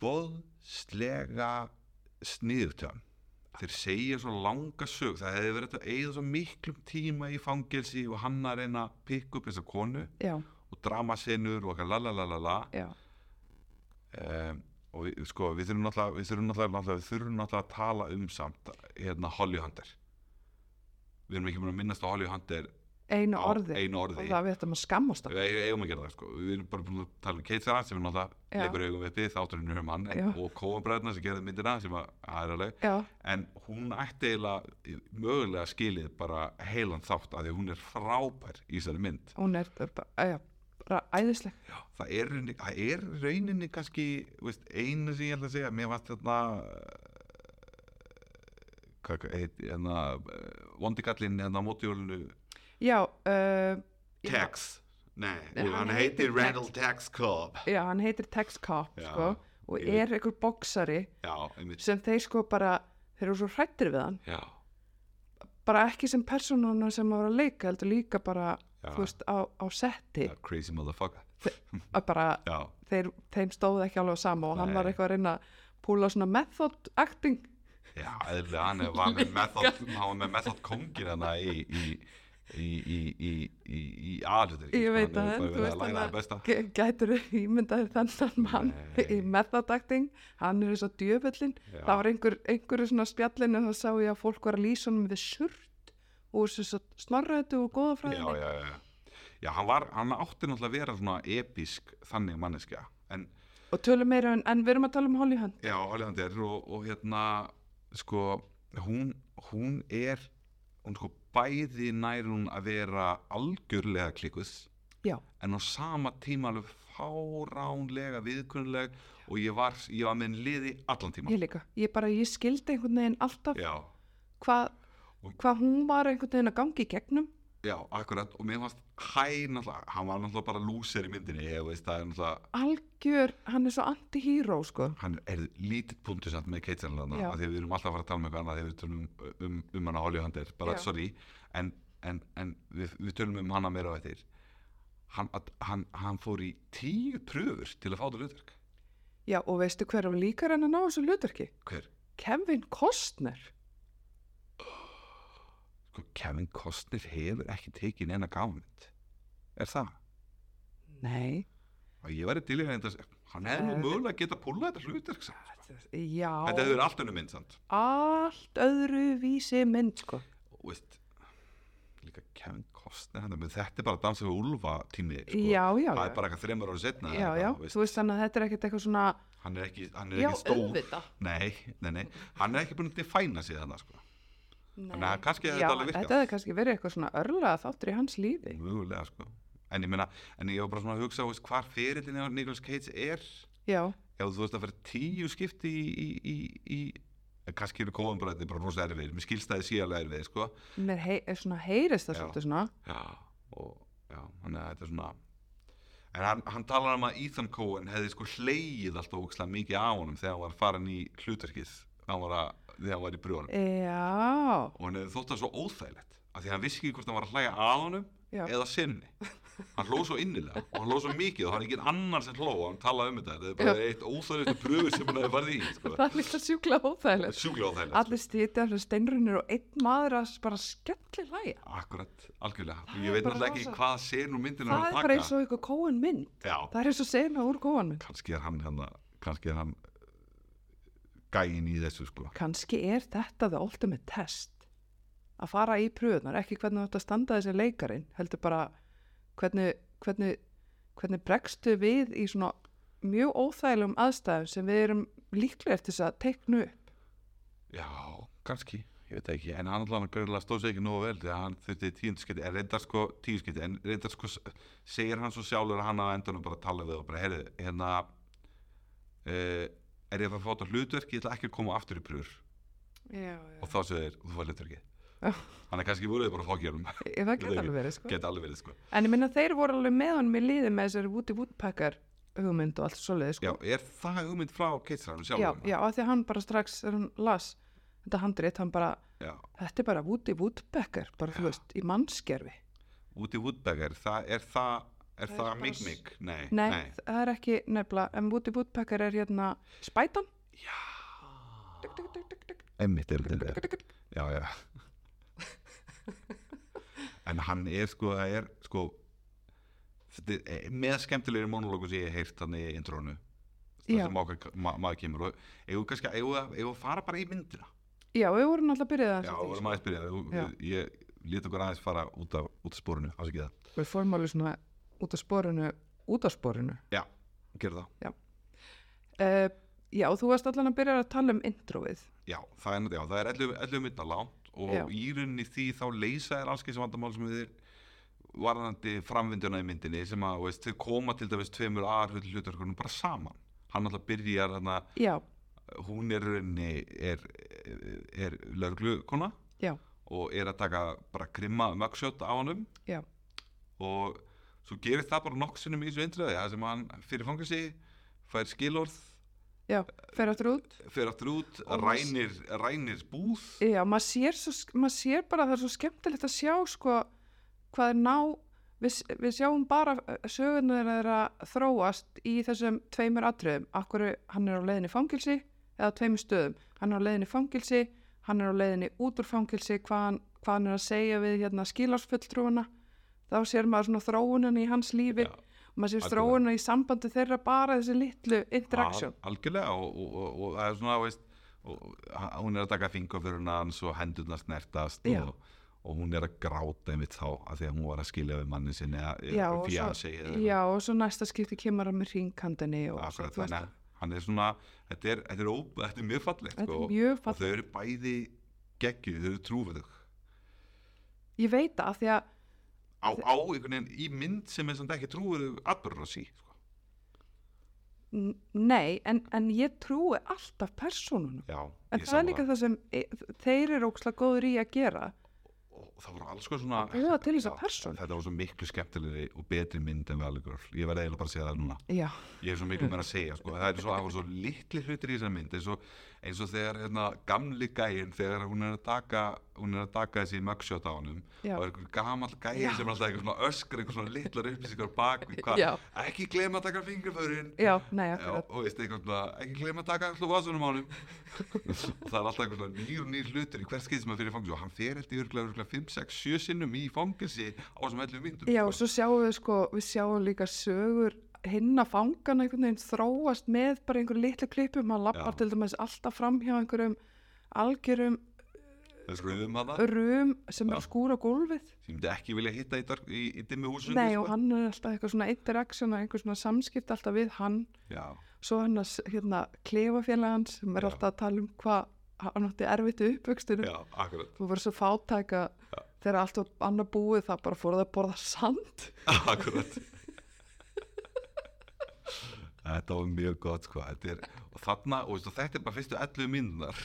A: óbóðslega sniðutján þeir segja svo langa sög það hefði verið að eigða svo miklum tíma í fangelsi og hann að reyna að pikka upp þessa konu
B: já,
A: og dramasenur og eitthvað lalalala
B: já
A: um, og við, sko við þurfum náttúrulega við þurfum náttúrulega, náttúrulega, við þurfum náttúrulega að tala um samt hérna Holly Hunter við erum ekki búin að minnast á Holly Hunter
B: einu
A: á
B: orði,
A: einu
B: og
A: orði
B: það við ættum að skammast okkur.
A: við eigum- eigum að gera það sko við erum bara búin að tala um Kate Sarah sem er náttúrulega
B: Já.
A: leikur augum við byggð þátturinn um hann
B: Já.
A: en, og Coen bræðna sem gerði myndina sem að aðraleg
B: já,
A: en hún ætti eiginlega mögulega skilið bara heilan þátt af því að hún er frábær í þessari mynd
B: hún er uh, bara, já, bara æðisleg
A: það er, rauninni- það er rauninni kannski þú veist, einu sem ég ætla að segja mér varst þarna eh, hvað heit hérna vondikallinn hérna á mótjólinu
B: já, uh, ég-
A: Tex Nei,
B: Nei,
A: hann,
B: hann heitir
A: heitir
B: Tex.
A: Randall Tex Cobb
B: já, hann heitir Tex Cobb
A: Já,
B: sko, og
A: ég veit.
B: er einhver boksari
A: Já, einmitt
B: sem þeir sko bara þeir eru svo hrættir við hann
A: Já,
B: bara ekki sem persónuna sem að vera að leika heldur líka bara,
A: Já.
B: þú veist, á, á setti
A: já crazy motherfucker
B: að bara
A: Já,
B: þeir, þeim stóð ekki alveg sama og hann
A: Nei.
B: var eitthvað að reyna að púla svona method acting
A: já, eðlilega hann er- var með method, hann var með method kongin hana í, í, í, í, í, í, í aðlutur
B: ég veit
A: það,
B: að
A: hann
B: hann,
A: er bara
B: þú
A: verið að
B: veist
A: læra það besta
B: hann gæ- gætur ímyndaði þannan mann í
A: Nei.
B: method acting hann er eins og djöfullin
A: Já.
B: það var einhver, einhverju svona spjallin og það sá ég að fólk var að lýsa honum við surt og þess að snorraðið og
A: já,
B: góða
A: já, já, já Já, hann, var, hann átti náttúrulega að vera svona episk þannig manneskja en
B: og tölum meira en, en við erum að tala um Holly Hunt
A: já, Hollandi er og, og hérna sko, hún, hún er hún sko bæði nær hún að vera algjörlega klikuð
B: já,
A: en á sama tíma alveg fáránlega viðkunnuleg og ég var, ég var með liði allan tíma
B: ég líka ég bara, ég skildi einhvern veginn alltaf
A: já,
B: hvað
A: Og-
B: hva hún var einhvern veginn að gangi í gegnum
A: já, akkurat og mér fannst hæ náttúrulega, hann var náttúrulega bara lúser í myndinni, ég veist það er náttúrulega
B: algjör, hann er svo anti-hero sko.
A: hann er lítið punktur samt með Kate Sennel
B: Já.
A: af því að við erum alltaf að fara að tala um eitthvað annað þegar við tölum um, um, um hana Holly Hunter bara
B: Já.
A: sorry, en, en, en við, við tölum um hana meira á eftir hann, að- hann, hann fór í tíu pröfur til að fá það hlutverk
B: já, og veistu hver á líkar hann að ná þessu hlutverki?
A: hver?
B: Kevin Costner
A: sko, Kevin Costner hefur ekki tekið neina gafmynd er það?
B: Nei,
A: og ég væri til í að hann hefði nú
B: Nei.
A: mögulega geta púlað þetta hlutverk samt.
B: þetta- já,
A: þetta hefur allt önnum mynd samt
B: allt öðru vísi mynd, sko.
A: og veist líka Kevin Costner hann, menn þetta er bara að dansa við Úlfa tími sko.
B: já, já,
A: það
B: já,
A: er bara hérna eitthvað þreymur ára setna
B: já, já,
A: veist,
B: þú veist þannig að þetta er ekkert eitthvað svona,
A: hann er ekki, hann er
B: já,
A: ekki stór
B: auðvitað.
A: nei, nei, nei, hann er ekki búin að fæna sig þarna sko. Þannig að
B: Nei.
A: kannski hefði
B: Já,
A: þetta alveg virkað.
B: þetta hefði kannski verið eitthvað svona örlega þáttur í hans lífi.
A: mögulega sko. en ég meina, en ég var bara svona að hugsa veist, hvar ferillin á Nicolas Cage er
B: Já,
A: ef þú veist að fyrir tíu skipti í, í, í, í en kannski eru kóðan bara þetta er bara rosa erfið, mér skilst að þið sé alveg erfið sko.
B: mér hei, er svona heyrist það
A: Já.
B: svolítið svona.
A: já, og já, þannig að þetta er svona en hann, hann talar um að Ethan Cohen hefði sko hleið alltaf ógislega mikið á honum þegar hann var farin í hlutarkið þegar hann var í brjónum
B: Já,
A: og hann hefði þótt það svo óþægilegt af því að hann vissi ekki hvort hann var að hlæja að honum
B: já,
A: eða sinni hann hló svo innilega og hann hló svo mikið og hann er ekki annar sem hló og hann talaði um þetta þetta er bara eitt óþægilegstu pröfur sem hann hefði farið í sko.
B: það er líka sjúkla óþægilegt.
A: sjúklega óþægilegt
B: Allir stýtja, allir steinrunir og einn maður að bara skellir hlæja.
A: akkurat, algjörlega,
B: Það
A: ég
B: er
A: veit
B: bara
A: náttúrulega ekki
B: rosa-
A: hvað senur myndin
B: Það
A: hann
B: er
A: að
B: bara eins
A: taka
B: og eitthvað kóan mynd.
A: já,
B: Það er eins og sena úr kóan mynd.
A: kannski er hann hana, kannski er hann gæin í þessu sko
B: Kanski er þetta the ultimate test. Að fara í pröðunar, ekki hvernig þú ætti að standa þessi leikarin, heldur bara hvernig, hvernig, hvernig bregstu við í svona mjög óþægilegum aðstæðum sem við erum líklega eftir þess að teiknu upp.
A: já, kannski, ég veit það ekki en hann allan að stóð sig ekki nógu vel því að hann þurfti tíundu skipti, en reyndar sko tíu skipti en reyndar sko, s- segir hann svo sjálfur að hann á endanum bara tala við og bara, heyrðu, hérna uh, er ég að fara að fá þetta hlutverk ég ætla ekki að koma aftur í pröfur
B: Já,
A: og þá segir þeir, þú fær hlutverkið
B: Já.
A: þannig að kannski voru þið bara að fá ekki honum
B: Ég, það
A: Ég veit
B: geta alveg verið, sko.
A: geta alveg verið sko
B: En ég minna þeir voru alveg með honum í liði með þessari Woody Woodpecker hugmynd og allt svoleiði,
A: já,
B: sko.
A: er það hugmynd frá keitsranum
B: já,
A: sjálfum
B: já, af því að hann bara strax, þegar hann las þetta handrit, hann bara,
A: já.
B: þetta er bara Woody Woodpecker, bara, þú
A: Já.
B: veist, í mannskerfi.
A: út í Woodbeggar, það er það er það,
B: Það er
A: það
B: bara s-
A: mig-mig? Nei,
B: Nei, það er ekki nefnilega, en Woody Woodpecker er hérna spætan.
A: Já,
B: Duk, duk, duk, duk, duk.
A: emmitt er þetta Já, já En hann er sko, það er sko þetta er eh, með skemmtilegri monologum sem ég hef heyrt þannig í intrónu það
B: Já.
A: sem okkar- ma- maður kemur og eigum við kannski, eigum við að- eigum við að fara bara í myndina
B: Já, við vorum alltaf byrjað
A: Já,
B: aðeins.
A: við vorum aðeins
B: Já.
A: byrja ég lét okkur aðeins fara út af, út af spórinu ásækið það,
B: Við fórum alveg svona út af sporinu, út af sporinu.
A: gerðu það
B: Uh, já, þú varst allan að byrja að tala um introið.
A: Já, það er, já, það er 11, 11 mitta langt og
B: Já.
A: í rauninni því þá leysa er alls keins vandamál sem við varðandi framvinduna í myndinni sem að þú veist, þau koma til dæmis tveimur aðhlut hlutarkunum bara saman hann alltaf byrjar hann að
B: Já,
A: hún er í rauninni er, er lögreglukona
B: Já.
A: og er að taka bara krimma mögsjótt á honum
B: Já.
A: og svo gerist það bara nokksinum í þessu eindröði það sem hann fyrir fangelsi fær skilorð,
B: fer aftur út.
A: fyrir aftur út
B: Og hann-
A: rænir, rænir búð
B: Já, maður sér, svo, maður sér bara að það er svo skemmtilegt að sjá sko, hvað er ná við, við sjáum bara eh, sögurnar þeirra þeirra þróast í þessum tveimur atriðum akkur hann er á leiðinni í fangilsi eða á tveimur stöðum, hann er á leiðinni í fangilsi hann er á leiðinni út úr fangilsi hvað hann, hvað hann er að segja við hérna, skilásfulltrúana þá sér maður svona þróunin í hans lífi
A: Já.
B: og maður sér
A: Algjörlega.
B: þróunin í sambandi þeirra bara þessi litlu interaction
A: Al, algjörlega og, og, og, og það er svona veist, og, h- hún er að taka fingurföruna hans og hendurna snertast
B: Já.
A: og, og hún er að gráta einmitt þá af því að hún var að skilja við mannin sinni
B: Já, og
A: því
B: svo-
A: að hann segja
B: já og svo næsta skipti kemur hann með hringkandinni og svo,
A: akkurat
B: þú veist,
A: þannig að hann er svona þetta er, þetta er, ó, þetta er mjög fallegt
B: Þetta
A: sko,
B: er mjög
A: og
B: fallegt.
A: þau eru bæði geggju, þau eru trúfæðug
B: Ég veit það af því að,
A: á, á einhvern veginn í mynd sem er samt ekki trúfæðug atbörur að sí sko.
B: n- nei, en, en ég trúi alltaf persónunum.
A: já,
B: En
A: ég
B: það er
A: sammála.
B: líka það sem e, þeir eru ókslega góður í að gera.
A: og það voru alls konar svona
B: búa til þessa
A: Já,
B: persónu.
A: þetta var svo miklu skemmtilegri og betri mynd en Valley Girl ég verði eiginlega bara að segja það núna
B: Já,
A: ég er svo miklu meira að segja sko. það er svo, það voru svo litli hlutir í þessari mynd eins og, eins og þegar hérna, gamli gæin þegar hún er að taka hún er að taka þessi mugshot á honum
B: Já.
A: og er einhver gamall gæin
B: Já.
A: sem er alltaf einhver svona öskur einhver svona litlar upplýsingar bak við hvað,
B: Já.
A: ekki glem að taka fingraförinn
B: já, nei,
A: Já,
B: akkurat
A: og veist einhvern veginn að ekki glem að taka alltaf vasunum á honum það er alltaf einhvern veginn nýr og nýr hlutur í hvert skeið sem að fyrir fangelsi og hann fer eftir örgulega 5, 6, 7 sinnum í fangelsi á þessum 11 myndum
B: Já, og svo sjáum við sko, við sjáum líka sögur hinn að fangana einhvern veginn þróast með bara einhverju litlu klippum, hann lappar
A: Já.
B: til dæmis alltaf fram hjá einhverjum algjörum
A: þess rauðum sko um hana
B: rum sem er
A: Já.
B: að skúra gólfið.
A: sem myndi ekki vilja hitta í, dark, í, sko. í dimmi húsum
B: Nei, og hann er alltaf eitthvað svona interaction og einhver svona samskipt alltaf við hann.
A: já,
B: Svo hann að hérna klefafélagan sem er
A: Já.
B: alltaf að tala um hvað hann átti erfitt uppvöxtunum.
A: já, akkurat
B: Þú voru svo fátæka þegar allt var annað búið það bara fóruð að borða sand.
A: Akkurat Þetta var mjög gott sko Þetta er, og þarna, og veistu, þetta er bara fyrstu 11 mínunar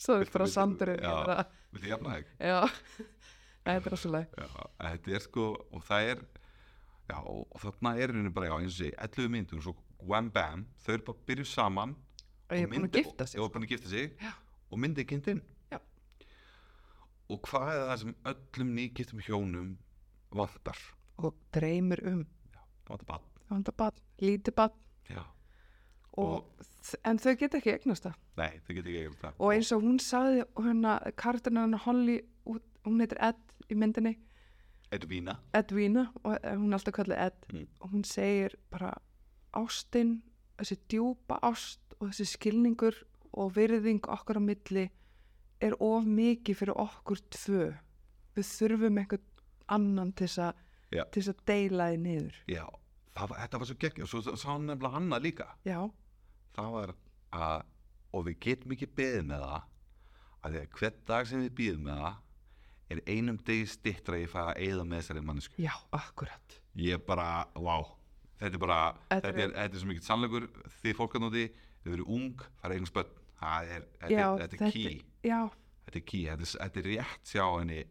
B: Svo er
A: Viltu-
B: bara
A: viltu-
B: sandurinn.
A: já.
B: Já.
A: Vil ég jafna þig?
B: Já, Nei, þetta er rosalega.
A: Já, þetta er sko, og það er Já, og þarna er henni bara, já, eins og ég, 11 mínunar Svo wham bam, þau eru bara byrjuð saman
B: Og ég er búin að gifta sig. sko.
A: og, og, búin að gifta sig
B: Já.
A: og myndið kindinn
B: Já.
A: Og hvað er það sem öllum nýgiftum hjónum vantar?
B: Og dreymir um.
A: Það vantar bann
B: Það vantar barn, lítið barn.
A: Já,
B: Og, en þau geta ekki eignast það.
A: nei, þau getur ekki ekki
B: Og eins og hún sagði, hérna, kartinu hennar Holly, út- hún heitir Ed í myndinni,
A: Edvína
B: Edwina, og eh, hún er alltaf kallið Ed.
A: Mm.
B: Og hún segir bara ástin, þessi djúpa ást og þessi skilningur og virðing okkar á milli er of mikið fyrir okkur tvö. Við þurfum einhvern annan til þess að-
A: Já.
B: til þess að deila þið niður.
A: Já, það var, þetta var svo geggjum og svo sá hann nefnilega hanna líka
B: Já,
A: það var að og við getum ekki beðið með það að því að hver dag sem við býðum með það er einum degi stittra ég fæ að eyða með þessari mannesku
B: já, akkurat.
A: ég bara, vá þetta er bara,
B: Þetta
A: þetta
B: er-
A: er, þetta er svo mikið sannleikur því fólk hérna að nóti, þau eru ung fara eigin spönn, það er þetta,
B: Já,
A: er- þetta er key,
B: Já,
A: þetta er key þetta er, þetta er rétt sjá henni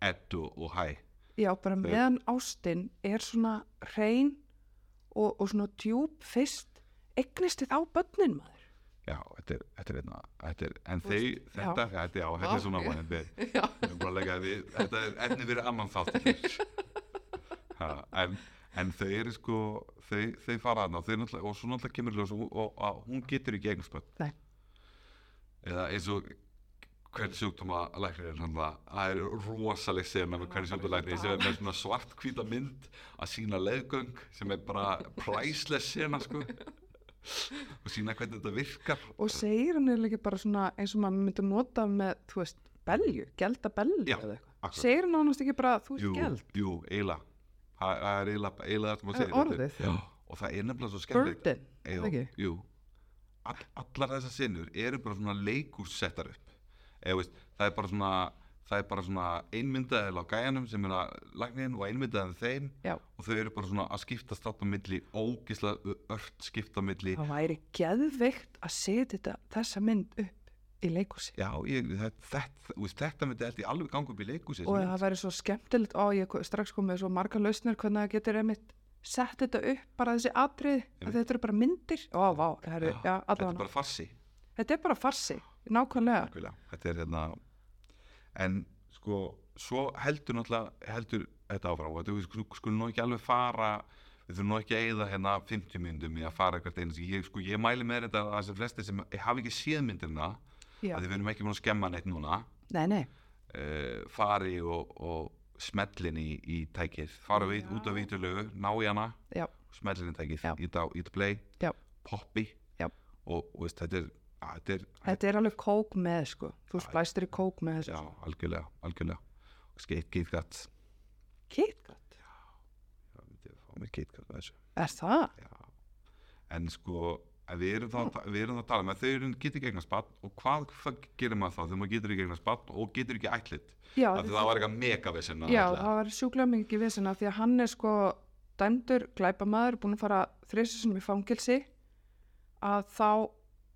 A: Eddu og Hæ
B: já, bara meðan ástin er svona hrein og, og svona djúb fyrst, eignist þið á börnin maður.
A: Já, þetta er, þetta er einna, þetta er, en þau,
B: veist, já.
A: þetta, þetta, já, þetta
B: Vá,
A: er svona
B: ég-
A: vanandi,
B: Já,
A: við erum bara að leggja við, þetta er efni verið annan þáttir. ha, en, en þau eru sko, þau, þau fara aðna og þau náttúrulega, og svo náttúrulega kemur í ljós og, og, og hún getur ekki eigin spöld.
B: Nei.
A: Eða eins og hvern sjúkdóma læknirinn hann það, það er rosaleg sena með hvern sjúkdóma læknirinn sem er með svona svart hvíta mynd að sína leðgöng sem er bara priceless sena sko og sína hvernig þetta virkar
B: og segir hann er líka bara svona eins og maður myndi nota með, þú veist, belju, gelda belju
A: Já,
B: eða eitthvað.
A: akkurat.
B: Segir hann ánast ekki bara, þú veist, geld.
A: Jú, eiginlega. Það það er eiginlega eiginlega það sem að segja.
B: Það er
A: þetta er-
B: orðið.
A: Já, og það er nefnilega svo skemmtilegt.
B: Burden,
A: Jú,
B: ekki?
A: Jú. All, allar þessar sinnur eru bara svona leikússettar upp. Eða, veist, það er bara svona það er bara svona einmyndaðil á gæjanum sem er að lagnin og einmyndaðil þeim
B: Já,
A: og þau eru bara svona að skipta státt á milli ógisla ört skipta á milli
B: það væri geðveikt að setja þetta, þessa mynd upp í leikúsi.
A: já, ég, þetta, þetta, þú veist, þetta myndi held ég alveg ganga upp í leikúsi
B: og það væri svo skemmtilegt og ég ko- strax kom með svo marga lausnir hvernig það getur einmitt sett þetta upp bara þessi atrið
A: Einmitt.
B: að þetta eru bara myndir ó, vá, það eru,
A: Já,
B: já,
A: þetta er
B: allavega
A: bara farsi
B: þetta er bara farsi, nákvæmlega
A: Nákvæmlega, þetta er hérna en sko, svo heldur náttúrulega, heldur þetta áfram og þetta við skulum- skulum nú ekki alveg fara við þurfum nú ekki að eyða hérna 50 myndum í að fara eitthvað einu ég, sko, ég mæli með þetta að þessar flesti sem hafa ekki séð myndina
B: já.
A: að þið verðum ekki búin að skemma neitt núna
B: nei, nei,
A: uh, fari og, og smellin í, í tækið fara við,
B: Já.
A: út af vítulegu, ná í hana
B: já,
A: smellin í tækið,
B: Já.
A: ít á, ít play
B: Já.
A: poppi
B: Já.
A: og, og veist, þetta er, að, þetta er
B: þetta er alveg kók með sko, þú
A: Já.
B: splæstir í kók með þessu
A: Já, algjörlega, algjörlega Skate, KitKat
B: kitkat,
A: Já, myndi ég fá mér KitKat með þessu
B: er það?
A: Já En sko, en við erum það, við erum það að tala með þau eru getur ekki eignast barn og hvað, hvað gerir maður þá þegar maður getur ekki eignast barn og getur ekki ætlit
B: já,
A: Af því það var eitthvað megavesen
B: já það var sjúklega mikið vesina því að hann er sko dæmdur glæpamaður, búin að fara þrjusisunum í fangelsi að þá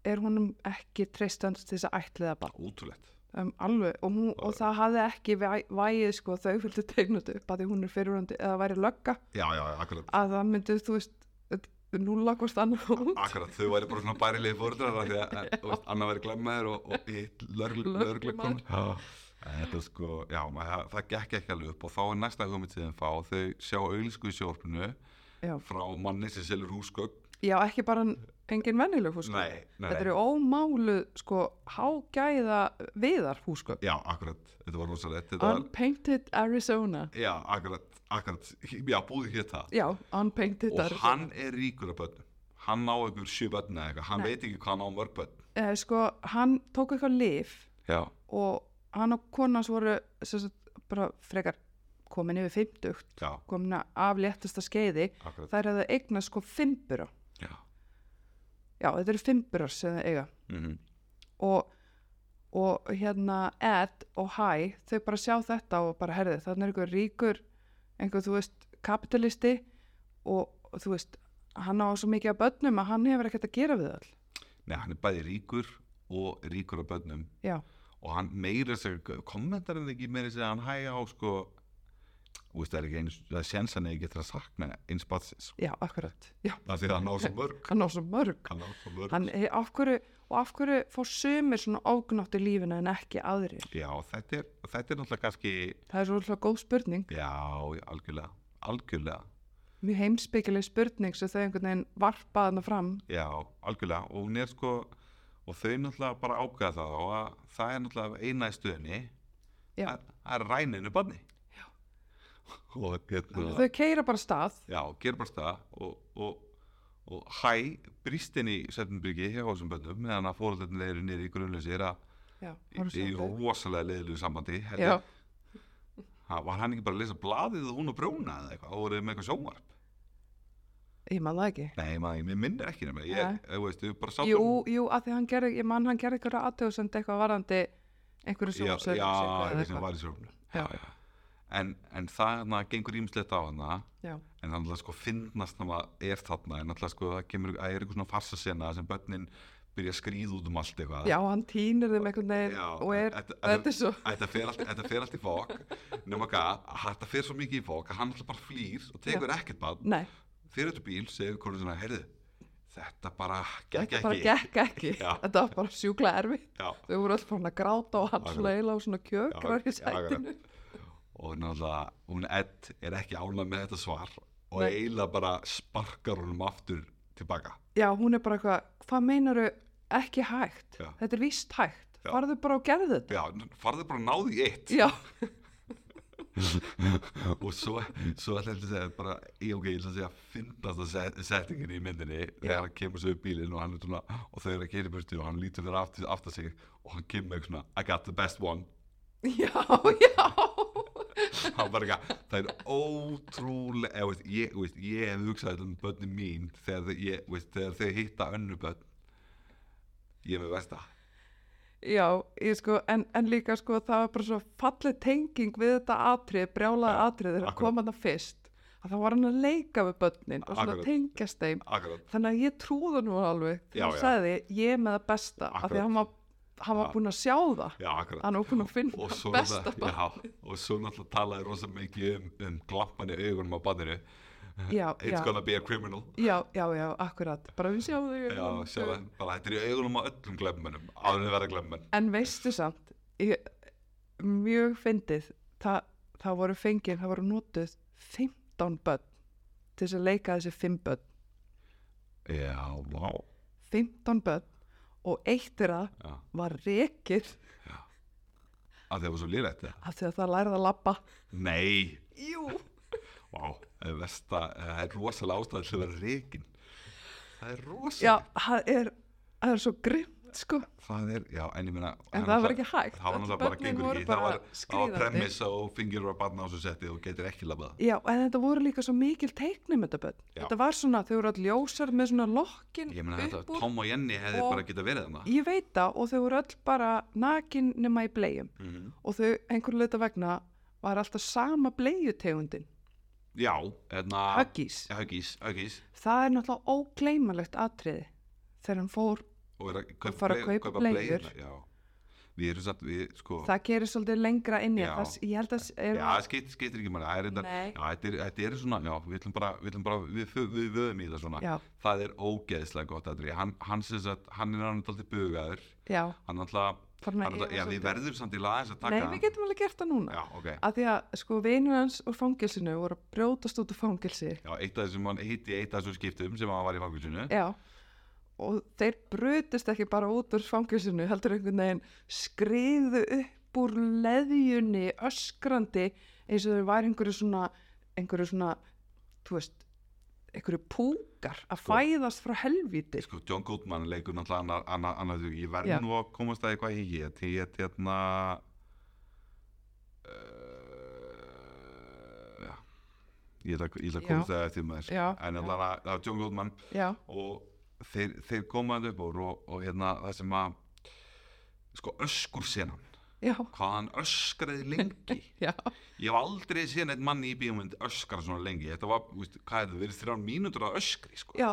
B: er honum ekki treystans til þess að ætliða barn
A: Ótrúlegt
B: um, alveg og, hún, og það hafði ekki væ- vægið sko þau fylgdu tegnut upp að því hún er fyrirhandi eða væri lögga
A: Já, já, já, akkurat
B: að það myndi þú veist þetta nú lakast annað út
A: Akkurat, þau væri bara svona bærilegi fóruðrar af því að, að þú veist, annað væri glemmaður og, og hitt
B: Lögreglumaður.
A: lörglökkum Þetta er sko, já, maður, það, það gekk ekki alveg upp og þá er næsta hugmynd sem þeim fá þau sjá auglísku í sjórpunu
B: já.
A: frá manni sem selur húsgögn
B: já, ekki bara engin venjuleg húsgögn
A: Nei, nei,
B: þetta
A: nei.
B: eru ómáluð sko hágæða viðar húsgögn
A: Já, akkurat, þetta var rosalegt þetta var,
B: Unpainted Arizona
A: Já, akkurat, akkurat, já, búið hér það
B: já, Unpainted
A: Og
B: Arizona
A: hann er ríkur af börnum Hann á ykkur sjö börn eða eitthvað, hann
B: Nei.
A: veit ekki hvað hann á mörg börn
B: eh, sko, hann tók eitthvað lif
A: Já,
B: og hann og konans voru sem sagt, bara frekar komin yfir fimmtugt
A: já,
B: komin af léttasta skeiði
A: akkurat
B: þær hefðu eignað sko fimbura
A: Já,
B: já, þetta eru fimburar sem þau eiga
A: mhm
B: og, og hérna Ed og Hæ, þau bara sjá þetta og bara herði, þannig er einhver ríkur einhver, þú veist, kapitalisti og, og þú veist hann á svo mikið af börnum að hann hefur ekkert að gera við all
A: Nei, hann er bæði ríkur og ríkur af börnum
B: já,
A: og hann meira sér, kommentar hann ekki meira sér að hann hægja á sko þú veist, það er ekki eins, það er séns hann ekki getur að sakna eins batsins
B: já, akkurat já,
A: það er því að hann á svo mörg
B: hann á svo mörg
A: hann á svo mörg
B: hann, eh, af hverju, og af hverju fór sumir svona ógnátt í lífinu en ekki aðrir
A: Já, þetta er, þetta er náttúrulega kannski
B: það er svo alltaf góð spurning
A: já, já, algjörlega, algjörlega
B: mjög heimspekileg spurning sem þau einhvern veginn varpaðna fram
A: já, algjörlega og hún er sko og þau náttúrulega bara ákveða það og að það er náttúrulega eina í stöðinni
B: Já.
A: að, að ræninu barni
B: Já.
A: og hérna
B: þau keira bara af stað
A: Já, gera bara stað og, og, og hæ brýst inn í Svefnbyrgi hjá þessum bönnum meðan að fórhaldarnir eru niður í grunnleysir að
B: já,
A: í
B: horfðu svo á þau.
A: rosalega leiðilegu sambandi Þetta-
B: já,
A: ha, Var hann ekki bara að lesa blaðið og hún að brjóna eða eitthvað og voruð með eitthvað sjónvarp
B: ég maður það ekki
A: Nei, maður, ég minnir ekki nema ég,
B: Nei.
A: ég, ég veist, við bara um- sátum
B: Jú, jú, að því hann gerði, ég mann hann gerði eitthvað aðtöðsend eitthvað varandi einhverju
A: Já,
B: sjónsöðu
A: já, eitthvað sem var í sjónvarp
B: Já.
A: En, en þarna gengur ímslegt á hana
B: já,
A: en þannig að sko finnast þannig að er þarna en alltaf sko það kemur að er eitthvað svona farsasena sem börnin byrja að skríða út um allt eitthvað
B: já, hann týnir þeim einhvern veginn
A: Já,
B: og er,
A: þetta- þetta-
B: þetta er svo
A: Þetta fer allt, þetta fer allt í fók nema hvað, að þetta fer svo mikið í fók að hann alltaf bara flýr og tekur ekkert bann
B: Nei,
A: fyrir þetta bíl, segir konu svona, heyrðu þetta bara gekk
B: þetta bara
A: ekki
B: gekk ekki
A: Já.
B: Þetta var bara sjúkla erfitt
A: já,
B: Þau voru öll bara hann að gráta og hann
A: Akkurat.
B: svona eila og svona kjökrar
A: Já,
B: í sætinu
A: og náttúrulega, hún Ed er ekki ánað með þetta svar og
B: Nei.
A: eiginlega bara sparkar honum aftur tilbaka
B: Já, hún er bara eitthvað, hvað meinaru ekki hægt?
A: Já.
B: Þetta er víst hægt
A: Já.
B: Farðu bara og gerðu þetta
A: já, farðu bara að náðu í eitt
B: Já,
A: og svo, svo ætla ég að segja bara, ég ok, ég ætla að segja að finnast að set, settingin í myndinni þegar hann kemur svo upp bílinn og hann er svona og þau eru að keira í burtu og hann lítur fyrir aftur, aftur sig og hann kemur með eitthvað svona, I got the best one
B: já, já
A: hann bara ekki, það er ótrúlega eða, veist, ég, veist, ég hef hugsað þetta um börnin mín þegar, þau- ég, veist, þegar þau hitta önnu börn ég er með versta
B: Já, ég sko, en, en líka sko það var bara svo falleg tenging við þetta atrið, brjálaði
A: Já,
B: atrið þegar
A: akkurat.
B: kom hann að fyrst að það var hann að leika við börnin og svona
A: Akkurat.
B: tengjast þeim
A: akkurat,
B: þannig að ég trúði nú alveg
A: Já,
B: þegar
A: já.
B: hann sagði ég er með það besta af því
A: Akkurat.
B: að hann var, hann var
A: Já.
B: búinn að sjá það
A: já akkurat
B: hann var búinn að finna
A: og svo,
B: það Ah, besta
A: náttúrulega- já, og svo náttúrulega talaði rosa mikið um, um glampan í augunum á banninu
B: barn. já,
A: It's
B: já,
A: gonna be a criminal
B: já, já, já, akkurat bara við sjáum þig um-
A: Já, sjá það, bara þetta er í augunum á öllum glemmennum, áður en verða glemmenn.
B: en veistu samt ég, mjög fyndið það, það voru fengið, það voru notuð 15 börn til þess að leika þessi 5 börn
A: Já, vá.
B: 15 börn og eitt þeirra
A: Já,
B: var rekið
A: að það var svo lýrætt það.
B: af því að það lærði að labba
A: Nei,
B: Jú,
A: vá, það er versta, eh, það er rosalega ástæðið til að vera reikin. Það er
B: já,
A: rosalega.
B: það er, það er svo grimmt sko
A: Það er, já, en ég meina.
B: en það var ekki hægt
A: Það var
B: öll
A: náttúrulega bara
B: börnin
A: gengur
B: voru
A: ekki, það
B: bara
A: var, það var
B: skríðandi.
A: premissa og fingjur var barna á svo setti og getur ekki labað.
B: Já, en þetta voru líka svo mikil teiknum þetta börn.
A: Já.
B: Þetta var svona, þau voru all ljósar með svona lokkin
A: Ég meina þetta,
B: upp úr.
A: Tom og Jenny hefði
B: og-
A: bara geta verið þarna.
B: Ég veit það og þau voru öll bara nakin nema í blegjum.
A: Mhm.
B: og þau einhverju leita vegna var alltaf sama bleiutegundin
A: Já, hérna,
B: Huggies,
A: Huggis, Huggis.
B: það er náttúrulega ógleymanlegt atriði þegar hann fór
A: og er að kaupa,
B: fara að
A: blei-
B: kaupa bleiur.
A: já. við erum samt við, sko,
B: það gerir svolítið lengra inn í
A: Já.
B: það ég held að s-
A: já,
B: er,
A: það skeytir, skeytir ekki maður, það er reyndar,
B: Nei.
A: já, þetta er, þetta er svona, já, við ætlum bara, við ætlum bara, við, við, við vöðum í það svona,
B: já,
A: það er ógeðslega gott aðri, hann, hann sem sagt, hann er hann alltaf bugaður,
B: já,
A: hann alltaf,
B: farin
A: hann
B: að
A: alltaf,
B: efa
A: já, við
B: svolítið.
A: verðum samt í laga þess að
B: nei,
A: taka,
B: við getum alveg gert það núna
A: já, ok,
B: að því að sko vinur hans úr fangilsinu voru að brjótast út úr fangilsi
A: já, eitt af þessum, hann hitti eitt af þessum skiptum sem hann var í fangilsinu,
B: já og þeir brutist ekki bara út úr fangilsinu heldur einhvern veginn skriðu upp úr leðjunni öskrandi eins og þeir væri einhverju svona einhverju svona, þú veist einhverju púkar að
A: Sko.
B: fæðast frá helvíti
A: sko, John Goodman leikur náttúrulega annar, annar, annar þau, ég verð
B: Já.
A: nú að komast að því hvað ég hét, ég hét hérna eh, uh, ég ætla ég ætla að
B: Já.
A: komast að því eftir maður
B: Já,
A: en
B: já.
A: allan að, það var John Goodman
B: já,
A: og þeir, þeir komaði upp úr og, og hérna það sem að sko öskur senan
B: já,
A: hvað hann öskraði lengi
B: já
A: ég hef aldrei séð eitt mann í bíómynd öskra svona lengi, þetta var, þú veist, hvað er það verið þrján mínútur að öskri, sko
B: já,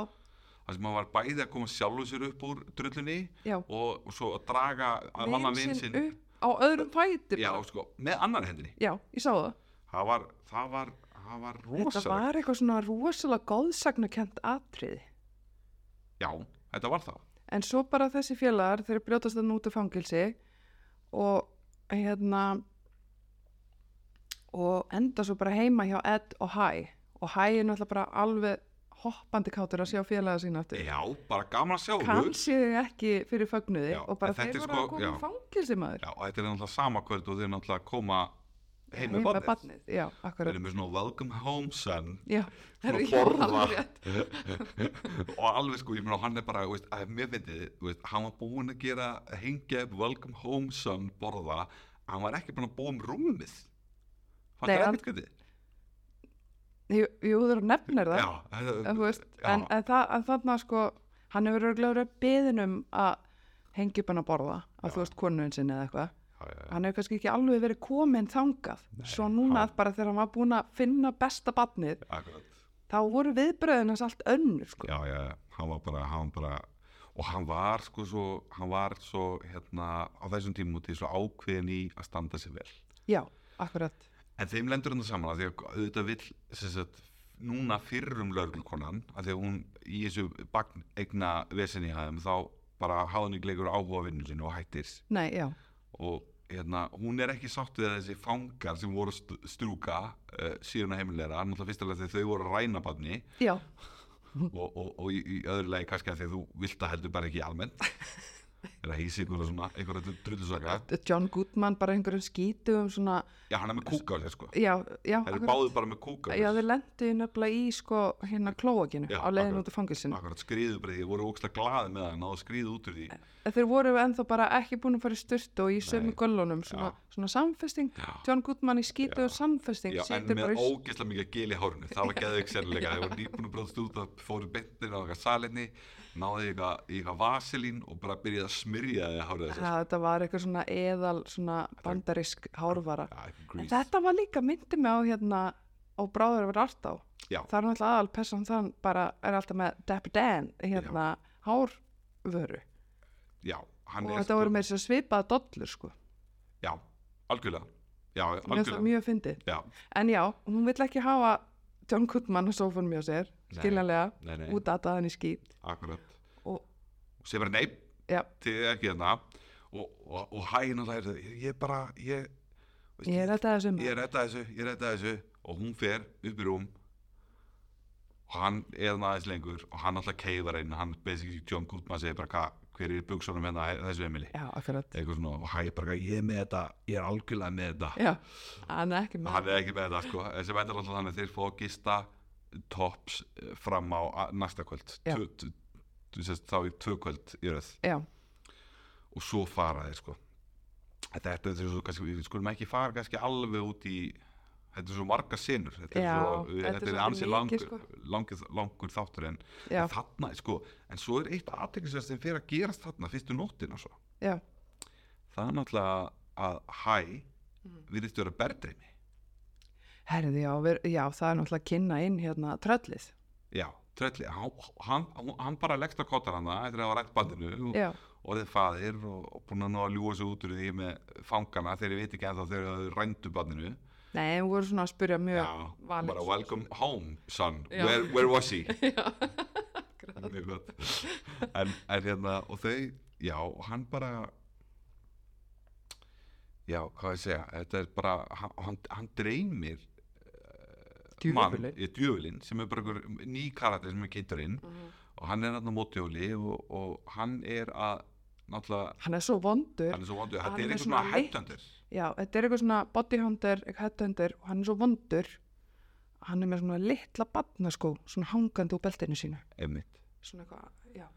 A: það sem hann var bæði að koma sjálfu sér upp úr drullunni
B: já
A: og, og svo að draga að
B: Vin
A: manna vin
B: sinn
A: sinn
B: upp á öðrum fæti
A: já,
B: bara.
A: sko, með annar hendinni
B: já, ég sá það
A: það var, það var, það var
B: þetta
A: rosalegt
B: var eitthvað svona rosalega góðsagnakent atriði
A: já, þetta var það
B: En svo bara þessi félagar, þeir brjótast þannig út af fangilsi og hérna og enda svo bara heima hjá Ed og Hæ og Hæ er náttúrulega bara alveg hoppandi kátur að sjá félaga sína aftur.
A: já, bara gaman að sjá þau.
B: Kansi þau ekki fyrir fagnuði
A: Já,
B: og bara
A: en þetta
B: þeir
A: er
B: voru
A: sko-
B: að koma
A: já.
B: í fangilsi maður.
A: já, og þetta er náttúrulega sama kvöld og þeir náttúrulega koma heim með
B: Heima
A: barnið
B: barnið. Já,
A: þeir
B: akkurat.
A: eru með svona welcome home son
B: Já,
A: svona
B: Herðu, já, alveg
A: borða
B: rétt.
A: og alveg sko, ég meina hann er bara þú veist, að mér finnir, veist, hann var búinn að gera hengja upp welcome home son borða, hann var ekki búinn að búa um rúmið hann
B: Nei,
A: er
B: hann-
A: ekkert gæti
B: Jú, jú, þú nefnir það.
A: Já, þetta-
B: en, þú veist,
A: já,
B: en, en, það, en þarna sko hann hefur örglega verið beðin um að hengi upp hann að borða að þú veist konuðin sinni eða eitthvað
A: já, já, já.
B: hann hefur kannski ekki alveg verið komin þangað svo núna
A: hann-
B: að bara þegar hann var búin að finna besta batnið
A: Akkurat.
B: þá voru viðbröðin hans allt önnur sko.
A: Já, já, já, hann var bara, hann bara og hann var sko svo, hann var svo hérna á þessum tímúti svo ákveðin í að standa sig vel
B: já, akkurat
A: en þeim lendur hann saman að því að auðvitað vill sem sagt, núna fyrrum lögreglkonan að því að hún í þessu bagn eigna vesenni aðeim þá bara háðningleikur áhuga á vinnu sinu og hættir
B: nei, já,
A: og hérna, hún er ekki sátt við að þessi fangar sem voru að st strúka uh, síðan að heimilegra, náttúrulega fyrstulega þegar þau voru að ræna badni
B: já,
A: og, og, og í, í öðru lagi kannski að því að þú vilt að heldur bara ekki almennt er að hýsi einhverja svona einhverja drullusaka
B: John Goodman bara einhverjum skítugum svona,
A: já hann er með kúka á sér sko
B: já, já
A: þeir eru báðu bara með kúka á
B: já,
A: sér
B: þeir lendu nefnilega í sko hérna klóakinu
A: sko. Já,
B: á leiðin
A: akkurat.
B: út af fangilsinu
A: akkurat skriðubriði voru ógsta glaði með það náðu skriðu út úr því
B: En þeir voru ennþá bara ekki búin að fara í styrtu og í sömu
A: Nei.
B: göllunum svona, svona samfesting,
A: já,
B: John Goodman í skítu og samfesting
A: já en
B: situr bara
A: með
B: í
A: ógeðslega mikið gil í hárinu það var geðveik sérleika þeir voru nýbúin að bróðast út að fóru bentin á eitthvað salinni náðu í eitthvað, í eitthvað vaselín og bara byrjaði að smyrja því hárið þess
B: ja, þetta var eitthvað svona eðal svona bandarisk hárvara en
A: já,
B: þetta var líka myndi mig á hérna og bráður verið allt á
A: Já.
B: það er náttúrulega aðal person þann bara er alltaf með Dapper Dan hérna hárvöru
A: já, hann
B: og
A: er sko-
B: þetta voru með þess að svipaða dollur sko,
A: já, algjörlega já,
B: mér finnst það
A: algjörlega
B: mjög fyndið
A: já,
B: en já, hún vill ekki hafa John Goodman að sófanum hjá sér
A: Nei.
B: skiljanlega,
A: nei, nei.
B: út að hann í skít
A: Akkurat.
B: og
A: Og segir bara nei,
B: Já.
A: þið er ekki hérna. Og, og, og hæna það er, ég er bara, ég, veist,
B: Ég er þetta þessu
A: ég
B: maður.
A: er þetta þessu, ég er þetta þessu. Og hún fer upp í rúm og hann er hann aðeins lengur og hann alltaf keiðar einn, hann basically John Goodman segir bara, hvað, hver er í buksunum hérna á þessu emili?
B: Já, akkurat.
A: Eitthvað svona, og hæ, bara, ég er með þetta, ég er algjörlega með þetta.
B: Já, hann er ekki með.
A: Hann er ekki með þetta, sko. En sem endur alltaf þannig að þeir fá að gista tops eh, fram á a- næsta kvöld.
B: Já.
A: Tvö- tvö- þú sést, Þá í tvö kvöld í röð.
B: Já,
A: og svo fara þeir sko En þetta er svo kannski, við skulum ekki fara kannski alveg út í þetta er svo marga sinur þetta
B: Já,
A: er, svo,
B: þetta er
A: þetta er
B: svolítið
A: ansi
B: mikið,
A: langur,
B: sko.
A: langur, langur þáttur en,
B: já,
A: en þarna sko, en svo er eitt aðteklisverð sem fyrir að gerast þarna fyrstu nóttina svo
B: já,
A: það er náttúrulega að hæ
B: Mhm.
A: virðist vera berðreimi
B: herði, já, ver, já, það er náttúrulega að kynna inn hérna tröllið.
A: já, trölli, hann, hann- hann bara leggst á kottar hana eftir að hafa rætt bandinu og,
B: Já,
A: orðið faðir og, og búin að ná að ljúa sig út úr því með fangana þegar ég veit ekki ennþá þegar þau rændu barninu
B: Nei, við vorum svona að spyrja mjög valið.
A: bara welcome home son,
B: Já.
A: where, where was he
B: Já,
A: mjög gott en, en hérna, og þau já, og hann bara já, hvað ég að segja þetta er bara, hann, hann- hann dreymir
B: djúfulur.
A: mann, djöfulinn sem er bara einhver ný karakter sem er kynntur inn og hann er náttúrulega mótjóli og, og hann er að náttúrulega,
B: Hann er svo vondur.
A: hann er svo vondur
B: Hann
A: þetta
B: er
A: er
B: með
A: eitthvað
B: svona
A: svona
B: lykt.
A: hættandur
B: Já, þetta er eitthvað svona bodyhunter, eitthvað headhunter og hann er svo vondur. Hann er með svona litla barnaskó, svona hangandi úr beltinu sínu.
A: einmitt
B: Svona eitthvað, já.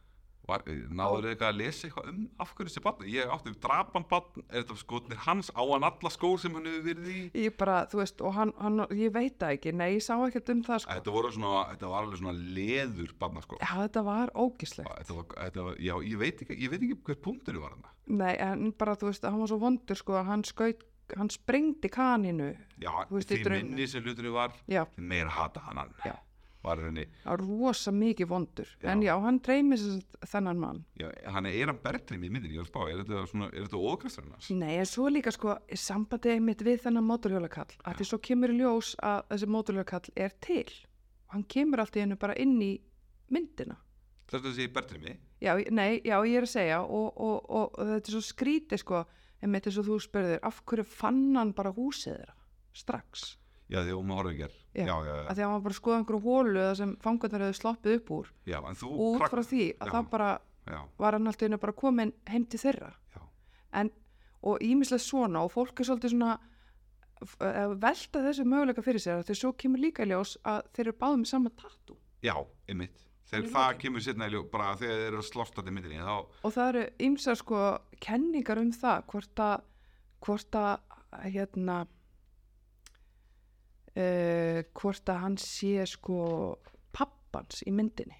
A: Var, náður eitthvað að lesa eitthvað um af hverju þessi batn, ég átti um drapan batn er þetta skotnir hans á hann alla skór sem hann hefur verið í
B: Ég bara, þú veist, og hann, hann ég veit það ekki, nei, ég sá ekkert um það, sko.
A: þetta, voru svona, þetta var alveg svona leður batna skór
B: Já, þetta var ógislegt.
A: þetta var, þetta var, já, ég veit ekki, ég veit ekki hver punktur var hann
B: Nei, en bara, þú veist, hann var svo vondur, sko, að hann skaut, hann sprengdi kaninu.
A: já,
B: Þú veist, í
A: því
B: draumnum.
A: minni sem hlutunni var
B: Já,
A: því meira hata hann hann
B: Já.
A: var henni,
B: það var rosa mikið vondur.
A: Já.
B: En já, hann dreymir þess að þennan mann.
A: já, hann er eran bertrimi í myndinni, ég vil spá, er þetta svona, er þetta ókastur hann
B: Nei, en svo líka sko sambandið mitt við þennan mótorhjólakall að því svo kemur í ljós að þessi mótorhjólakall er til og hann kemur allt í hennu bara inn í myndina
A: þess að segja bertrimi,
B: Já, ég- nei, já, ég er að segja og, og, og, og þetta er svo skrítið sko en mitt er svo þú spurðir, af hverju fann hann bara húsið þeirra strax
A: já, því hún maður horfði
B: Já.
A: ekki já, já,
B: að því að hann var bara að skoða einhverju hólu eða sem fangarnar hefðu sloppið upp úr
A: já, já, en þú
B: og út
A: krakk-
B: frá því að
A: Já.
B: það bara
A: já,
B: var hann allt í hennu bara komin heim til þeirra
A: já,
B: en, og ímislega svona og fólk er svolítið svona f- eh, að velta þessu möguleika fyrir sér þegar svo kemur líka í ljós að þeir eru báðum með sama tattu
A: já, einmitt
B: Hann
A: þegar
B: er
A: það
B: lokin.
A: kemur sérna í ljó, bara þegar þeir eru að slásta í myndinni, þá,
B: og það eru ímsa sko kenningar um það hvort að hvort að hérna uh, hvort að hann sé sko pappans í myndinni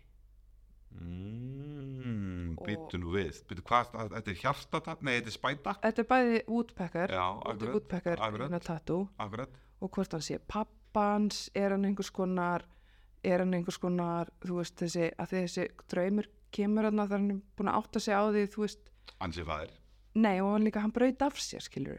A: mm,
B: Og-
A: byttu nú við byttu hvað, þetta er hjartatat, nei, þetta er spæta
B: þetta er bæði útpekkar
A: já, akkurat,
B: útpekkar
A: akkurat.
B: hérna tattu
A: akkurat
B: og hvort hann sé pappans, er hann einhvers konar er hann einhvers konar þú veist þessi, að þessi draumur kemur hann að það hann er búin að átta sig á því þú veist,
A: ansið fæðir,
B: nei og hann líka hann braut af sér skilur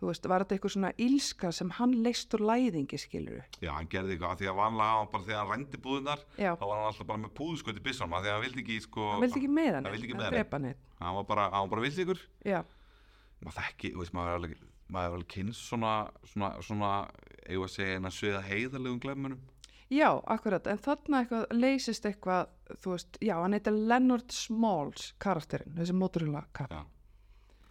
B: þú veist, var þetta einhver svona ílska sem hann leist úr læðingi skilur
A: já, hann gerði eitthvað af því að vanlega hafa hann bara þegar hann rændi búðunar
B: já,
A: þá var hann alltaf bara með púðuskot í byssunum af því að hann vildi ekki, sko,
B: hann vildi ekki með hann
A: hann vildi ekki
B: hann
A: meiða neinn.
B: drepa hann einn.
A: hann var bara, hann var bara vildi ykkur
B: já,
A: maður þekki, þú veist, maður er alveg maður er alveg kynst svona svona, svona eigum að segja en að sögða heiðarlegum glemmunum
B: já, akkurat en þarna eitthvað leysist eitthvað þú veist, já, hann heitir Leonard Smalls karakterinn, þessi móturhjóla karakter
A: já,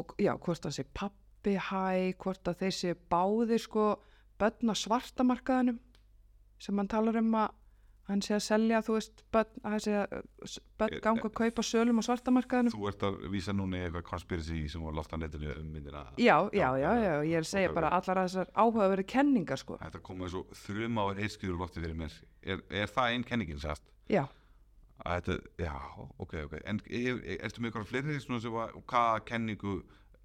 B: og já, hvort það sé pappi hæ, hvort að þeir sé báðir sko börn á svartamarkaðanum sem hann talar um að hann sé að selja, þú veist, börn, að hann sé að s- börn
A: Er-
B: ganga að kaupa sölum á svartamarkaðanum.
A: þú ert að vísa núna í eitthvað conspiracy sem var loftan netinu um myndina
B: Já, já, já,
A: já,
B: já, ég er að segja
A: ok,
B: bara
A: ok.
B: allar að þessar áhugaverið kenningar sko.
A: þetta kom með svo þrjum áur heilskjur lofti fyrir mér er, er það einn kenningin sæst?
B: Já,
A: að þetta, já, ok, ok en er, er, ertu með eitthvað fleiri svona sem var, hvaða kenningu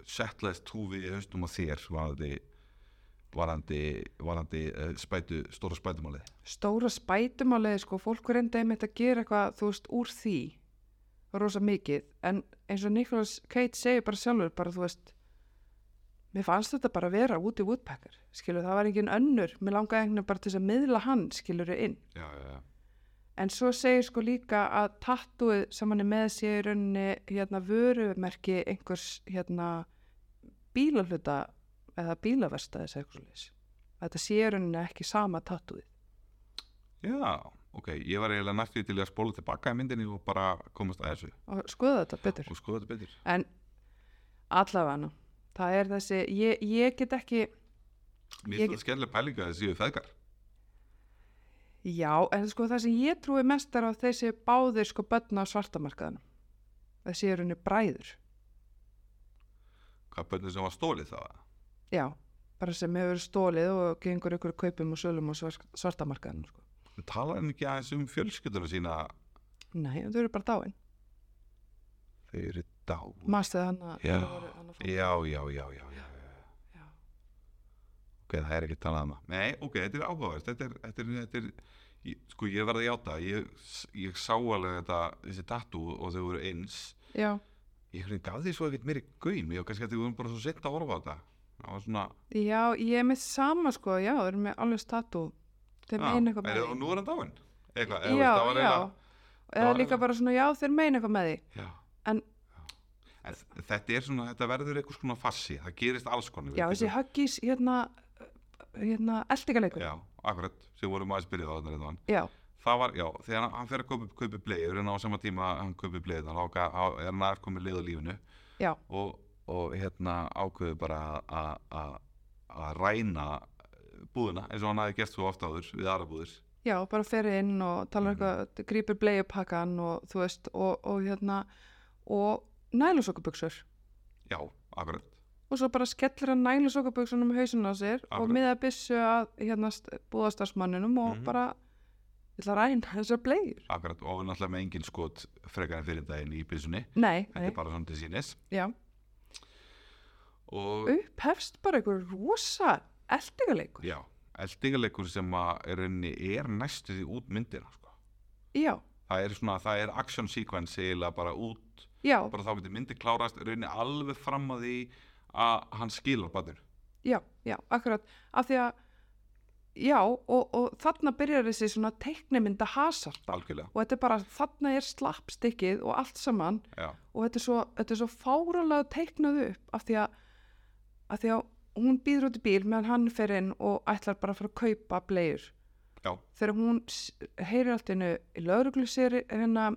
A: settlaðist þú við í haustum á þér varandi varandi, varandi uh, spætu, stóra spætumálið
B: stóra spætumálið sko, fólk er enda einmitt að gera eitthvað, þú veist, úr því rosa mikið, en eins og Nicholas Cage segir bara sjálfur, bara þú veist mér fannst þetta bara að vera út í Woodpecker, skilur, það var engin önnur mér langaði einhvern veginn bara til þess að miðla hann skilur inn,
A: já, já, já,
B: en svo segir sko líka að tattúið sem hann er með sé í rauninni hérna vörumerki einhvers hérna bílalhuta eða bílaverstaðis eitthvað svoleiðis. þetta sé í rauninni ekki sama tattúið
A: já, ok ég var eiginlega næstu til að spóla tilbaka í myndinni og bara komast að þessu
B: og skoða þetta betur
A: og skoða þetta betur
B: en allavega það er þessi, ég, ég get ekki
A: mér
B: Ég-
A: finnst þetta skemmtilega pælinga að séu feðgar
B: já, en sko það sem ég trúi mest er á þessi báðir sko börn á svartamarkaðanum þessi er henni bræður
A: hvað bönnum sem var stólið það var?
B: já, bara sem hefur verið stólið og gengur ykkur kaupum og sölum á svar- svartamarkaðanum sko.
A: En talar hann ekki aðeins um fjölskylduna sína
B: nei, þau eru bara dáin
A: þau eru dáð
B: mastu það hann að
A: Já,
B: þeir voru hann að fá-
A: já, já, já, já, já.
B: Já.
A: ok, það er ekki talað um það nei, ok, þetta er áhugavert þetta er, þetta er, þetta er ég, sko, ég verði að játa ég, ég sá alveg þetta, þessi tattoo og þau voru eins
B: já,
A: ég hvernig gaf því svo ekkert meiri gaum, ég var kannski að því vorum bara svo sett að orfa á þetta það var svona,
B: já, ég er með sama sko, já, þeir eru með alveg statú þeir
A: já,
B: meina eitthvað
A: er,
B: með
A: og
B: því
A: nú er hann dáinn eitthvað, eða,
B: já,
A: það var
B: já,
A: eiginlega- það
B: eða
A: var
B: líka
A: eitthvað-
B: bara svona já, þeir meina eitthvað með því
A: já.
B: En-
A: Já. en þ- þetta er svona, þetta verður einhvers konar fassi, það gerist alls konar við
B: já,
A: getum-
B: þessi höggis, hérna hérna, eldingaleikur já,
A: já, akkurat, sem vorum aðeins byrjuð á þarna hérna. reyndan
B: já,
A: það var, já, þegar hann, hann fer að kaupi, kaupi bleiður en á sama tíma að hann kaupi bleiður þá ga- þá er hann aðkomið leið á lífinu
B: já,
A: og, og hérna ákveður bara að- að að ræna búðina eins og hann hafi gert svo oft áður við aðra búðir
B: bara fer inn og
A: Mhm.
B: tala eitthvað, grípur bleiupakkan og þú veist, og, og hérna og nælusokkabuxur
A: já, akkurat,
B: og svo bara skellir hann nælusokkabuxunum í hausinu á sér og
A: Akkurat.
B: miða byssu að hérna búðastarsmanninum og
A: Mhm.
B: bara ætla að ræna þessar bleiur
A: akkurat og er náttúrulega með engin skot frekar en fyrir daginn í byssunni
B: nei,
A: þetta
B: nei,
A: er bara svona til sínis
B: já
A: og
B: upphefst bara einhver rosa eldingaleikur
A: já, eldingarleikur sem að er, rauninni- er næstu því út myndina sko.
B: já,
A: það er svona, það er action sequence eiginlega bara út
B: já,
A: bara þá getur myndi klárast rauninni alveg fram að því að hann skilar bætur
B: já, já, akkurat af því að já, og, og þarna byrjar þessi svona teiknimynda hasar bara.
A: algjörlega
B: og þetta er bara, þarna er slappstykkið og allt saman
A: já,
B: og þetta er svo, þetta er svo fáralega teiknað upp af því að, af því að hún býður út í bíl meðan hann fer inn og ætlar bara að fara að kaupa bleiur
A: já,
B: þegar hún s- heyrir allt innu í lauruglu hérna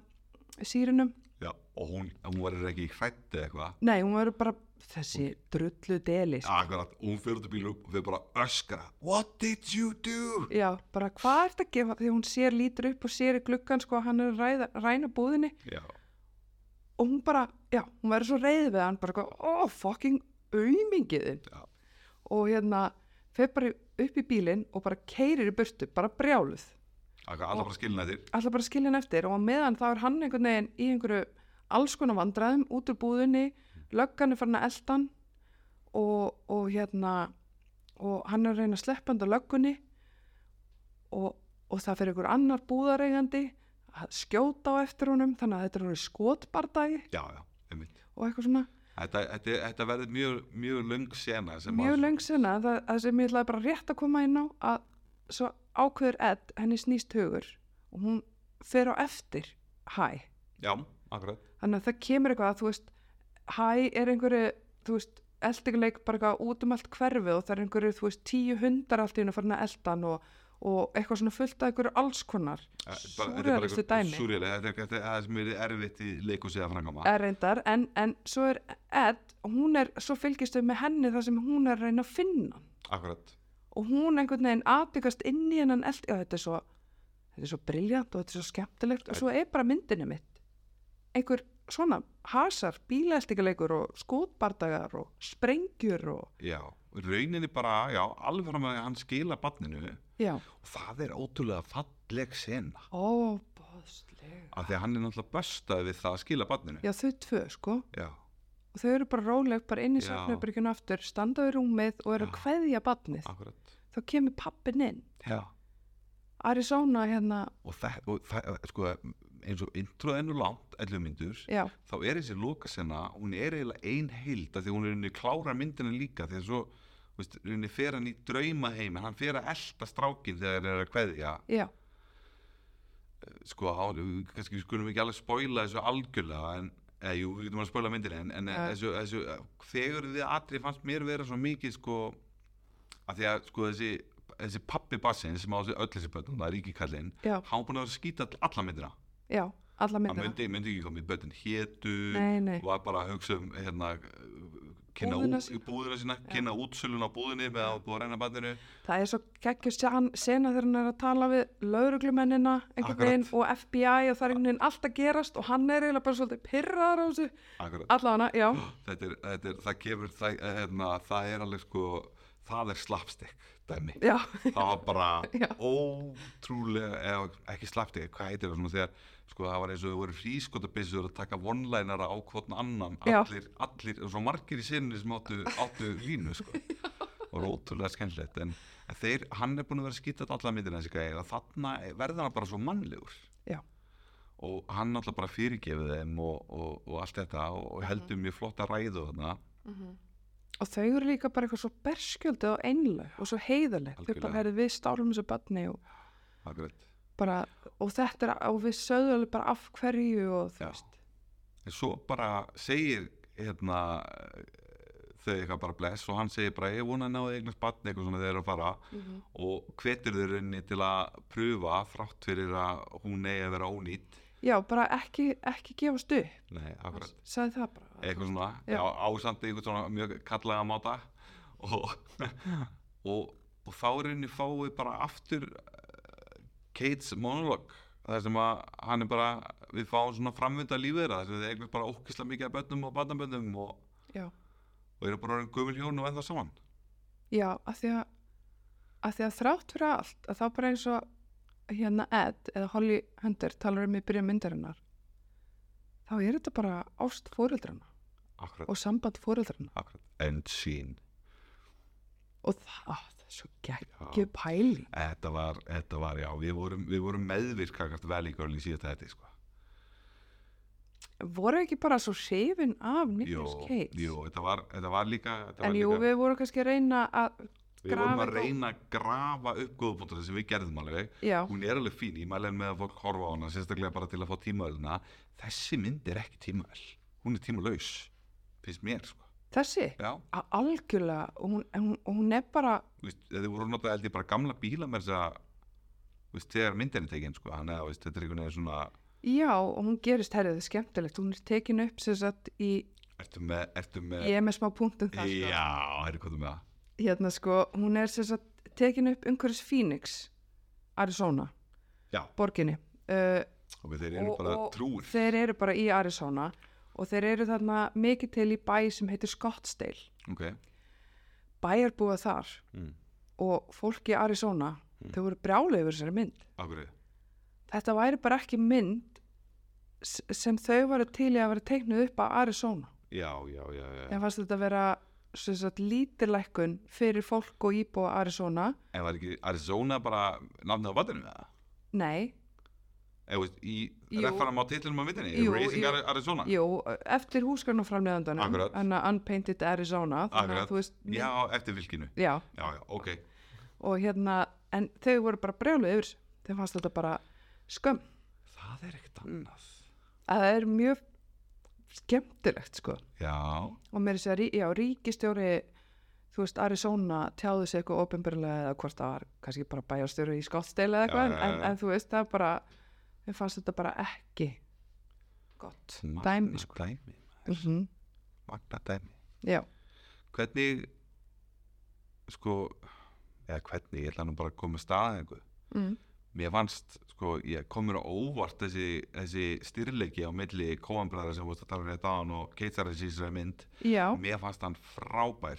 B: sírunum,
A: já og hún, hún verður ekki hrætt eða eitthvað
B: nei hún verður bara þessi drullu delis
A: akkurat, hún fyrir út í bílum og fyrir bara að öskra what did you do
B: já, bara hvað ert að gefa því hún sér lítur upp og sér í gluggan sko að hann er að ræða, ræna búðinni
A: já,
B: og hún bara, já, hún verður svo reið við hann bara, eitthvað, ó, oh, fucking aumingiðin
A: já,
B: og hérna fer bara upp í bílinn og bara keirir í burtu, bara brjáluð
A: akkurat, alla bara skilna þér
B: alltaf bara skilin eftir og á meðan þá er hann einhvern veginn í einhverju alls konar vandræðum út úr búðinni, löggan er farin að elda hann og, og hérna og hann er að reyna að sleppa hann á löggunni og, og það fyrir einhver annar búðareigandi að skjóta á eftir honum þannig að þetta er hann skotbardagi
A: já, já, einmitt
B: og eitthvað svona
A: þetta, þetta, þetta verður mjög, mjög löng sena sem
B: mjög
A: að-
B: löng sinna það, það sem ég ætlaði bara rétt að koma inn á að svo ákveður Ed henni snýst hugur og hún fer á eftir hæ
A: já, akkurat,
B: þannig að það kemur eitthvað að þú veist hæ er einhverju þú veist eldinguleik bara eitthvað út um allt hverfið og það er einhverju þú veist tíu hundar allt í hennu farin að eldan og, og eitthvað svona fullt af einhverju alls konar
A: Eh, bara- þetta er bara
B: súrjalistu
A: eitthvað-
B: dæmi Eh.
A: súrrealist, þetta er þetta er það sem er erfitt í leikus eða frangama
B: er reyndar en, en svo er Ed hún er, svo fylgist við með henni þar sem hún er að reyna að finna hann
A: akkurat,
B: og hún einhvern veginn atbyggast inn í hennan eld já, þetta er svo, þetta er svo briljant og þetta er svo skemmtilegt og svo er bara myndinu mitt einhver svona hasar, bílaeltingaleikur og skotbardagar og sprengjur og
A: já, rauninni bara já, alveg fram að hann skila barninu
B: já,
A: og það er ótrúlega falleg sena
B: óbóðslega
A: af því að hann er náttúrulega bestaði við það að skila barninu
B: já, þau tvö sko
A: já,
B: og þau eru bara róleg, bara inn í
A: Já.
B: svefnabyrgjun aftur standa við rúmið og eru að
A: Já.
B: kveðja batnið,
A: akkurat
B: þá kemur pappin inn
A: já.
B: Arizona hérna,
A: og það, og það sko, eins og introð ennur langt 11 myndur,
B: já,
A: þá er þessi lokasena, hún er eiginlega ein heild af því að hún er henni klára myndina líka því að svo, þú veist, henni fer hann í draumaheimin, hann fer að elta strákin þegar hann er að kveðja
B: já,
A: sko, á, kannski við skulum ekki alveg spoila þessu algjörlega en eða, jú, við getum alveg að spoila myndinni en, en
B: Já.
A: þessu, þessu, þegar þið atri fannst mér vera svo mikið sko, að því að sko, þessi, þessi pappi bassin sem á þessu öll þessi börnum, það er ekki kallinn
B: Já.
A: hann var búin að vera að skýta all- alla myndina
B: já alla
A: hann
B: myndina,
A: myndi, myndi ekki komið börnin hétu
B: nei, nei
A: var bara að hugsa um hérna, kynna
B: Búðina
A: búðina,
B: sína.
A: búðina sína kynna útsölun á búðinni með að búið að reyna bandinu
B: Það er svo geggjur sjan- sena þegar hann er að tala við lauruglumennina einhvern veginn og FBI og það er einhvern veginn allt að gerast og hann er eiginlega bara svolítið pyrraðar á þessu
A: akkurat
B: allavega, já,
A: þetta er, þetta er, það kemur það, hérna, það er alveg sko það er slapstick dæmi
B: já,
A: það var bara
B: Já.
A: ótrúlega eða ekki slapstick, hvað heitir það svona þegar sko það var eins og þau voru frískotabissur að taka vonlænara á hvotn annan
B: Já.
A: allir, allir, og svo margir í sinni sem áttu, áttu línu sko og rótulega skemmtilegt en, en þeir, hann er búin að vera skýtað allar myndina þessi gæði og þarna verður hann bara svo mannlegur
B: Já.
A: og hann alltaf bara fyrirgefið þeim og, og, og allt þetta og, og heldur mjög flotta ræðu þarna
B: og þau eru líka bara eitthvað svo berskjöldu og einleg og svo heiðaleg þau
A: Algjörlega.
B: bara herðu við stálum þessu barni og,
A: Margrét.
B: bara, og þetta er og við sögðu alveg bara af hverju og þú
A: Já.
B: veist
A: en svo bara segir hérna þau eitthvað bara bless og hann segir bara ég vona að náðu eignast batni eitthvað svona þegar þeir eru að fara og hvetur þau rauninni til að pröfa þrátt fyrir að hún eigi að vera ónýtt
B: já, bara ekki, ekki gefast upp
A: nei, akkurat
B: sagði það bara
A: eitthvað svona,
B: Já.
A: já, ásamt eitthvað svona mjög kallega máta og, og, og þá er henni fáið bara aftur eh, Kates monolog þar sem að hann er bara við fáum svona framvinda lífið þeirra þar sem þið eignast bara ókislega mikið af bönnum og barnabönnum og,
B: já.
A: og eru bara orðin gömul hjón og ennþá saman
B: já, af því að af því að þrátt fyrir allt að þá bara eins og hérna Ed eða Holly Hunter talar um í byrja myndarinnar þá er þetta bara ást fóreldrana
A: akkurat,
B: og samband fóreldrana
A: akkurat, end scene
B: og það, á, það er svo geggju pæling
A: þetta var, þetta var, já, við vorum, við vorum meðvirkakast vel í görlinn síðast þetta sko.
B: voru ekki bara svo séfin af Nicolas
A: jú,
B: Cage
A: jú, þetta var, þetta var líka þetta
B: en
A: var
B: jú,
A: líka,
B: við vorum kannski að reyna að
A: við vorum að
B: grafa eitthvað-
A: reyna að grafa upp góðbúntur sem við gerðum alveg
B: já,
A: hún er alveg fín, ég mæli með að fólk horfa á hana sérstaklega bara til að fá tímaöluna þessi mynd er ekki tímaöl hún er tímalaus, finnst mér sko.
B: þessi
A: já,
B: a- algjörlega, og hún, en hún, og hún er bara
A: þú veist, þið voru notað held ég bara gamla bíla með þess að þú veist, þegar myndin er tekin sko, hann eða þú veist, þetta er einhvern veginn svona
B: já, og hún gerist herrið, það er skemmtilegt hún er tekin upp sem sagt í
A: ertu með, ertu með
B: ég er með smá punktum þar sko.
A: Eh, já, herri hvað þú með það
B: hérna sko, hún er sem sagt tekin upp umhverfis Phoenix Arizona,
A: já,
B: borginni uh,
A: og við þeir eru
B: Og-
A: bara
B: og
A: trúir
B: þeir eru bara í Arizona og þeir eru þarna mikið til í bæ sem heitir Scottsdale
A: ok,
B: bæjarbúa þar
A: Mm.
B: og fólk í Arizona
A: Hmm.
B: þau voru brjálið yfir þessari mynd
A: akkurrið
B: þetta væri bara ekki mynd s- sem þau varu til í að vera teiknuð upp á Arizona
A: já, já, já, já,
B: þegar fannst þetta vera sem sagt, lítilækkun fyrir fólk og íbúa Arizona
A: en var ekki Arizona bara nafnið á vatninu með það
B: nei,
A: eða þú veist, í
B: Jú.
A: referam á titlinum á myndinni,
B: Jú,
A: Raising
B: jú.
A: Ari- Arizona
B: jú, eftir húsgarn og
A: Akkurat.
B: þannig að Unpainted Arizona þannig
A: Akkurat.
B: að þú veist mynd-
A: já, eftir vilkinu já,
B: já,
A: já, ok,
B: og hérna en þau voru bara brjálið yfir þessu. þeim fannst þetta bara skömm
A: það er ekkert
B: Mm.
A: annað
B: að það er mjög skemmtilegt sko
A: já,
B: og mér er sér, já, ríkistjóri þú veist, Arizona tjáði sig eitthvað ofinbjörlega eða hvort það var kannski bara bæjarstjóri í skottsteila eða
A: Já,
B: eitthvað
A: já,
B: en,
A: já.
B: en þú veist, það er bara mér fannst þetta bara ekki gott dæmi, sko
A: dæmi,
B: mm
A: magna dæmi
B: já,
A: hvernig sko, eða hvernig ég ætla nú bara að koma með staðan einhver
B: mm.
A: mér fannst, sko, ég kom mér á óvart þessi, þessi styrleiki á milli kóanbræðar sem voru að tala um rétt á hann og keitsar þessi í þessari mynd
B: já Sko.
A: mér fannst hann frábær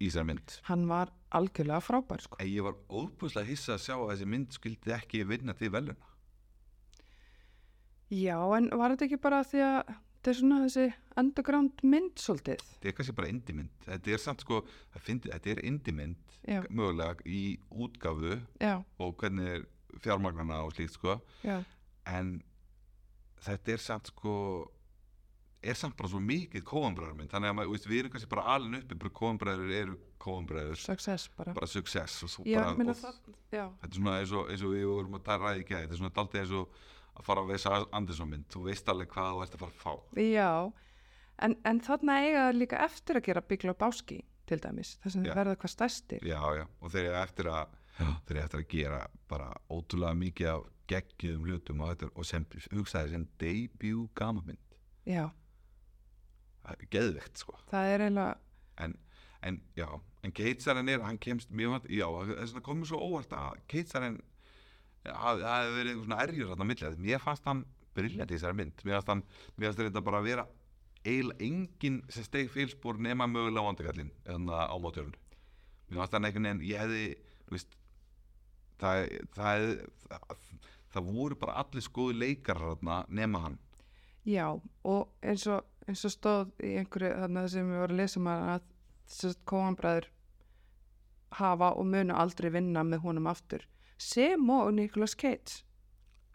A: í þessari mynd
B: hann var algjörlega frábær sko
A: en ég var óbúslega hissa að sjá að þessi mynd skildi ekki vinna til veluna
B: já, en var þetta ekki bara því að þetta er svona þessi underground mynd svolítið
A: þetta er kannski bara indimynd þetta er samt sko, það fyndi, þetta er indimynd
B: já,
A: mögulega í útgafu
B: já,
A: og hvernig er fjármagnana og slíkt sko
B: já
A: en þetta er samt sko er samt bara svo mikið kóanbræðarmynd þannig að maður, þú veist, við erum kannski bara alin uppi bara kóanbræður eru kóanbræður
B: success bara,
A: bara success og svo
B: já,
A: bara
B: minna
A: og-
B: það já,
A: þetta er svona eins og, eins og við vorum að tala ræði ekki að þetta er svona daldið eins og að fara að veisa Andersson mynd þú veist alveg hvað þú ert að fara að fá
B: Já, en, en þarna eiga það líka eftir að gera byggla á báski til dæmis, þar sem
A: Já.
B: þið verða hvað stærstir.
A: já, já, og þeir eru eftir að þeir eru eftir að gera bara ótrúlega mikið af geggjum hlutum og, þetta, er- og sem, hugsaði sem debut gamamynd
B: Já,
A: það er geðvegt sko
B: það er eiginlega,
A: en, en já, en Keitsarinn er hann kemst mjög vant, já, það er svona komið svo óvart að Keitsarinn það hefur verið einhver svona erjur þarna á milli að mér fannst hann briljant í þessari mynd mér fannst hann, mér fannst þetta bara að vera eiginlega enginn sem steg félspor nema mögulega vandakallin þannig á mótjörun mér fannst hann einhvern veginn, ég hefði þú veist það, það, það, það, voru bara allir skoðu leikar þarna nema hann
B: já, og eins og, eins og stóð í einhverju þarna sem við vorum að lesa um að- að sérst kóanbræður hafa og munu aldrei vinna með honum aftur, sem og Nicolas Cage.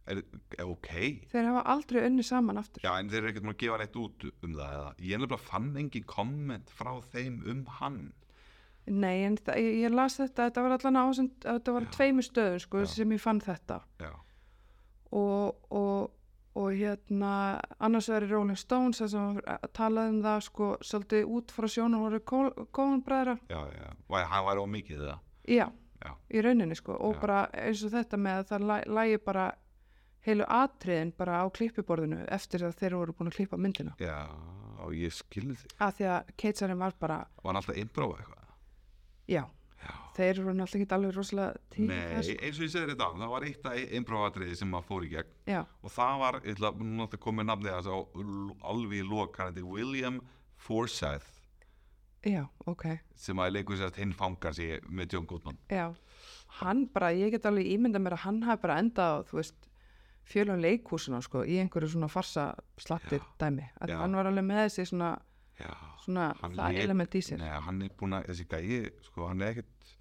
A: er, er ok
B: þeir hafa aldrei unni saman aftur
A: Já, en þeir eru ekkert múin að gefa neitt út um það eða. Ég nefnilega fann engin komment frá þeim um hann
B: nei en það, ég, ég las þetta þetta var allan á sem, þetta var
A: Já.
B: á tveimur stöðum sko,
A: Já.
B: sem ég fann þetta
A: Já,
B: og, og, og hérna annars verið Rolling Stones þar sem var- talaði um það sko svolítið út frá sjónarhóru Coen bræðra
A: já, já Væ, Hann væri ómikið það
B: já,
A: Já.
B: í rauninni sko og
A: Já.
B: bara eins og þetta með að það læ- lægi bara heilu atriðin bara á klippiborðinu eftir að þeir voru búin að klippa myndina
A: Já, og ég skilði þig
B: að því að keitsarinn var bara,
A: Var hann alltaf improv eitthvað?
B: já
A: Já
B: þeir voru náttúrulega ekki alveg rosalega tíma
A: Nei,
B: þess
A: eins og ég segir þetta á, það var eitt að improvatriði sem maður fór í gegn
B: já,
A: og það var, ég ætla nú náttúrulega að koma með nafnið þess á l- alveg í lok, hann heiti William Forsyth
B: já, ok
A: sem að leikur sérst hinn fangar sig með John Goodman
B: já, hann bara, ég get alveg ímyndað mér að hann hafi bara endað á, þú veist fjölun leikhúsuna sko, í einhverju svona farsa slatti dæmi, að
A: Já.
B: hann var alveg með þessi svona,
A: Já,
B: svona
A: Hann
B: það
A: lét-
B: element í sér
A: Nei, hann er búin að, þessi gæi, sko, hann er ekkert,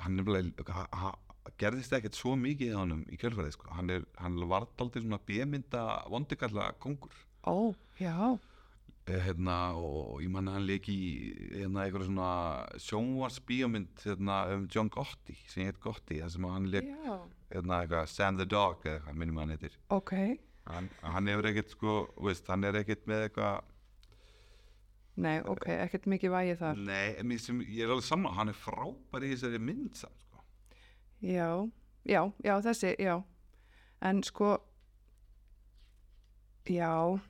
A: hann er bara, ha, ha, gerðist ekkert svo mikið í honum í kjölfærið, sko, hann er, hann var daldið svona bjömynda vondikalla kongur,
B: ó, já,
A: eh, hérna, og ég manna hann leik í, hérna, einhverja svona sjónvars bíómynd, hérna, um John Gotti, sem heit Gotti, þar sem hann leik,
B: já
A: hérna, eitthvað, Sam the Dog, eða eitthvað, minnum hann heitir,
B: ok,
A: hann, hann hefur ekkert, sko, veist, hann er ekkert með eitthvað,
B: nei, ok, ekkert mikið vægi þar
A: nei, em, sem, ég er alveg saman, hann er frábær í þessari mynd samt, sko.
B: Já, já, já, þessi, já. En sko, já,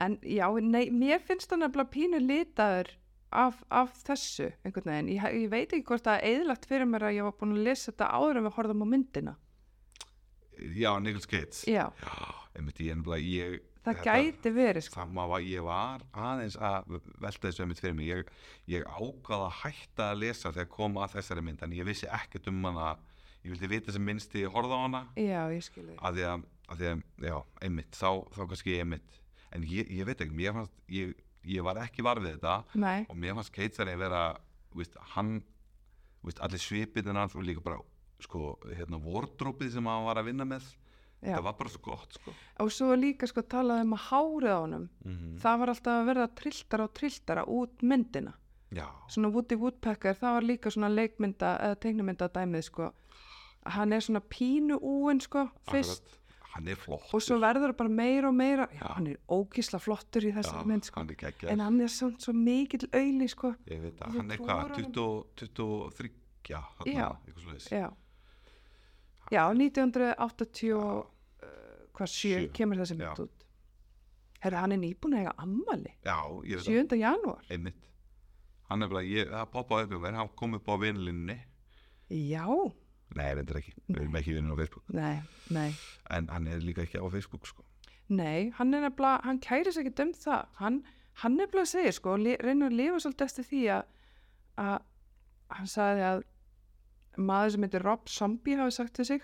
B: en já, nei, mér finnst það nefnilega pínu litaður af, af þessu, einhvern veginn. Ég, ég veit ekki hvort það er eðlagt fyrir mér að ég var búin að lesa þetta áður en við horfðum á myndina.
A: Já, Nichols Gates
B: Já,
A: Já, einmitt ég ennbla ég,
B: það
A: þetta-
B: gæti verið, sko.
A: það má að ég var aðeins að velta þessu einmitt fyrir mig ég, ég ákvað að hætta að lesa þegar kom að þessari mynd en ég vissi ekkert um hana ég vildi vita sem minnst ég horfði á hana
B: Já, ég skil þig.
A: að því að, að, því að já, einmitt, þá, þá kannski einmitt en ég, ég veit ekki, mér fannst ég, ég var ekki var við þetta
B: Nei,
A: og mér fannst Keitsari vera þú veist, hann, þú veist, allir svipin hans og líka bara sko, hérna, vordrópið sem hann var að vinna með
B: Já.
A: það var bara svo gott sko.
B: og svo er líka sko talað um að hárið á honum.
A: -hmm.
B: Það var alltaf að verða trilltara og trilltara út myndina.
A: Já,
B: svona Woody Woodpecker, það var líka svona leikmynda eða teiknumynda dæmið sko hann er svona pínu úin sko fyrst
A: akkurat. Hann er flott.
B: og svo verður það bara meira og meira já,
A: Já.
B: hann er ógísla flottur í þessu mynd sko
A: Hann er geggjær.
B: en hann er svona svo mikill auðli sko
A: ég veit
B: Þú
A: það, hann er
B: trúir
A: hvað,
B: honum?
A: 20 23, já, þarna,
B: Já.
A: eitthvað svoleiðis.
B: já, já 1987 og, uh, hvað sjö
A: Sjö.
B: kemur þessi
A: Já.
B: mynd út herra hann er nýbúin að eiga ammali
A: Já, ég veit það,
B: 7. janúar
A: einmitt. Hann er bara, ég, það poppaði upp í mér, hann kom upp á vinlinni.
B: já,
A: Nei, reyndir ekki, við erum ekki vinnir á Facebook.
B: nei, nei
A: En hann er líka ekki á Facebook, sko.
B: Nei, hann er nefnilega, hann kæri sér ekki um það, hann, hann nefnilega segir sko, og li- reynir að lifa svolítið eftir því að, að hann sagði að maður sem heitir Rob Zombie hafi sagt til sig,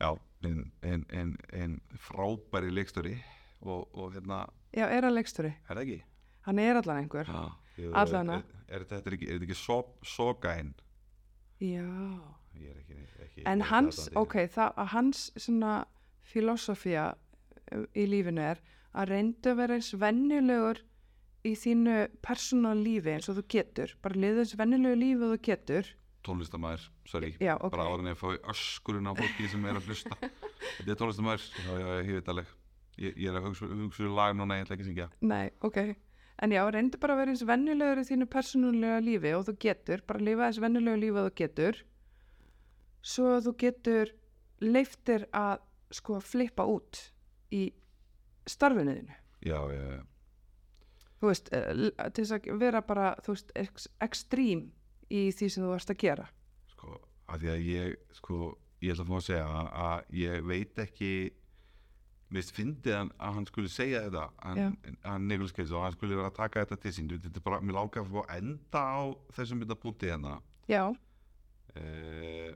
A: Já, en, en, en, en frábæri leikstöri og, og hérna,
B: já, er að leiksturi,
A: er það ekki?
B: hann er allan einhver,
A: Já.
B: Allavega.
A: Er, er, er, þetta- þetta er, ekki, er þetta ekki so, Sogain?
B: já,
A: Ég er ekki, ekki
B: en
A: ekki
B: hans,
A: aðdáandi.
B: ok, það, að hans svona filosofía uh, í lífinu er að reyndu að vera eins vennilegur í þínu persónal lífi eins og þú getur, bara liða eins vennilegu lífi og þú getur,
A: tónlistamæður, sorry
B: Já, ok.
A: bara áður en ég fái öskurinn á fólki sem er að hlusta þetta er tónlistamæður, já, já, ég veit alveg ég, ég er að hugsa, hugsa um lag núna, ég ætla ekki að syngja
B: Nei, ok. En já, reyndu bara að vera eins vennilegur í þínu persónulega lífi og þú getur, bara lifa eins vennilegur lífi og þú getur, svo að þú getur leiftir að sko flippa út í starfinu þínu.
A: já, já, já,
B: Þú veist, eh, l- til þess að vera bara, þú veist, ex ekstrím í því sem þú varst að gera.
A: sko af því að ég, sko, ég ætla að fá að segja að- að ég veit ekki mér finnst fyndið hann að hann skulle segja þetta hann, hann Nikolas Keits og hann skulle vera að taka þetta til sín Þú veit, þetta er bara, mér lákaði að fá að enda á þessum mynda punkti hérna
B: Já,
A: Eh,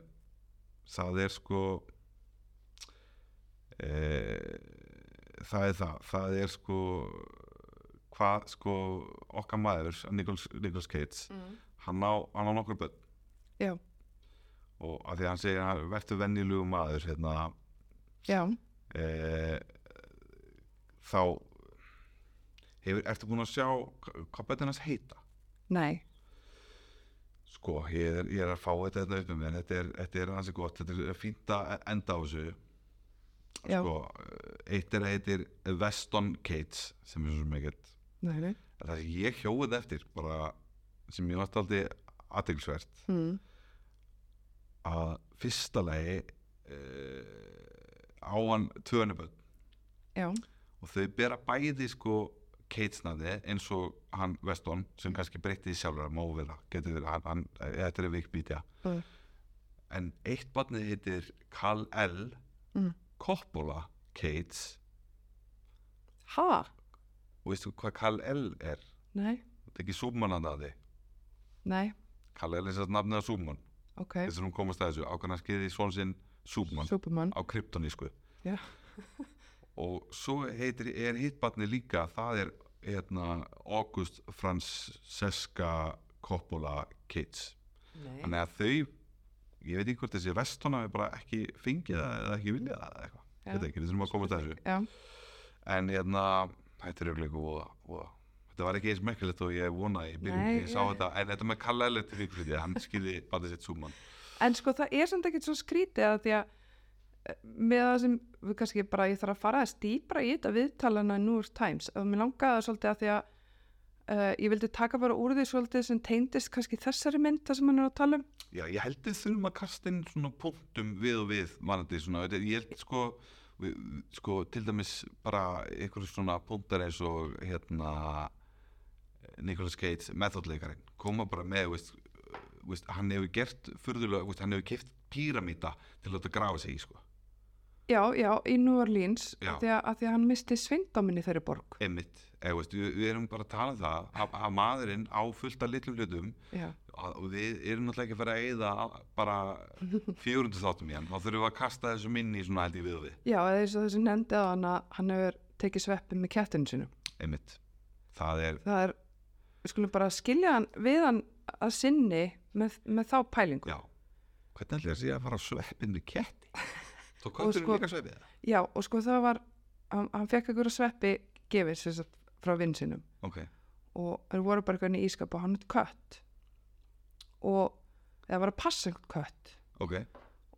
A: það er sko eh, það er það það er sko hvað sko okkar
B: Mm.
A: maður Nicholas, Nicholas Cates, hann á, hann á nokkur börn
B: Já.
A: og af því að hann segja verður venjulegu maður hérna,
B: já,
A: e, þá hefur, ertu búin að sjá hva- hvað bötinn hans heita
B: nei,
A: sko, ég er, ég er að fá þetta hérna upp með mér, þetta er, þetta er hansi gott þetta er fínt að e- enda á þessu
B: já,
A: sko, eitt er að heitir Weston Cates sem er svo sem ekkert
B: nei, nei.
A: En það sem ég hjóðið eftir bara, sem ég varst aldrei aðeinsvert
B: Mm.
A: að fyrsta lagi uh, á hann tvönuböld
B: já,
A: og þau bera bæði sko keitsnaði eins og hann Veston
B: Mm.
A: sem kannski breytti því sjálfur að móðu vera getur verið, hann, hann, eh, þetta er vikbítja
B: Mm.
A: en eitt barnið heitir Kal L
B: Mm.
A: Coppola Keits
B: ha,
A: og veistu hvað Kal L er?
B: nei,
A: Þetta er ekki súmanandaði
B: nei,
A: Kal L er þess að nafnið að súman
B: ok,
A: þess að hún komast að þessu ákvæmna skeiði svon sinn Súbmann
B: Superman,
A: á kryptonísku
B: Já.
A: og svo heitir, er hittbarni líka það er hérna, August Francesca Coppola Kids
C: Nei.
A: þannig að þau ég veit ekki hvort þessi vestona er bara ekki fengið það eða ekki viljað það eða eitthvað
B: Já.
A: þetta ekki, við þurfum að komast að þessu
B: já,
A: en hérna, þetta er auðvitað voða, voða Þetta var ekki eins merkilegt og ég vonaði, ég byrjum,
C: Nei,
A: ég sá
C: ég-
A: þetta, en þetta með Kalla Ellert í fríkvöldi, hann skilði bara sitt súmann.
B: en sko það er samt ekkert svo skrítið að því að eh, með það sem við kannski bara ég þarf að fara að stýpra í þetta viðtalana í New York Times og mér langaði það svolítið að því að uh, ég vildi taka bara úr því svolítið sem teyndist kannski þessari mynd það sem hann er að tala um
A: Já, ég held við þurfum að kasta inn svona punktum við og við varandi svona, þetta- ég held sko, við, sko til dæmis bara einhverjum svona punktar eins og hérna Nicholas Gates, methodleikarinn koma bara með, veist, veist hann hefur gert furðulega, veist, hann hefur keft píramíta til að láta grafa sig í sko
B: já, já, í New Orleans
A: Já.
B: af því að, að því að hann misti svindóminni þeirri borg
A: emitt, eða veist, við, við erum bara að tala um það að, að maðurinn á fullt af litlum hlutum
B: já,
A: að- og við erum náttúrulega ekki að fara að eyða bara 400 þáttum í hann þá þurfum við að kasta þessu minni í svona held ég við og við
B: já eða eins og þessi nefndi að hann að hann hefur tekið sveppi með kettinu sinu
A: einmitt það er,
B: það er, við skulum bara skilja hann við hann að sinni með, með þá pælingu
A: já hvernig ætlir það sé að fara á sveppin með ketti þá
B: Og
A: köttur
B: sko-
A: líka sveppið það
B: Já, og sko það var, hann, hann fekk einhverja sveppi gefið sem sagt, frá vinn sinum
A: ok,
B: og þeir voru bara eitthvað inn í ískap og hann er kött og það var að passa einhvern kött
A: ok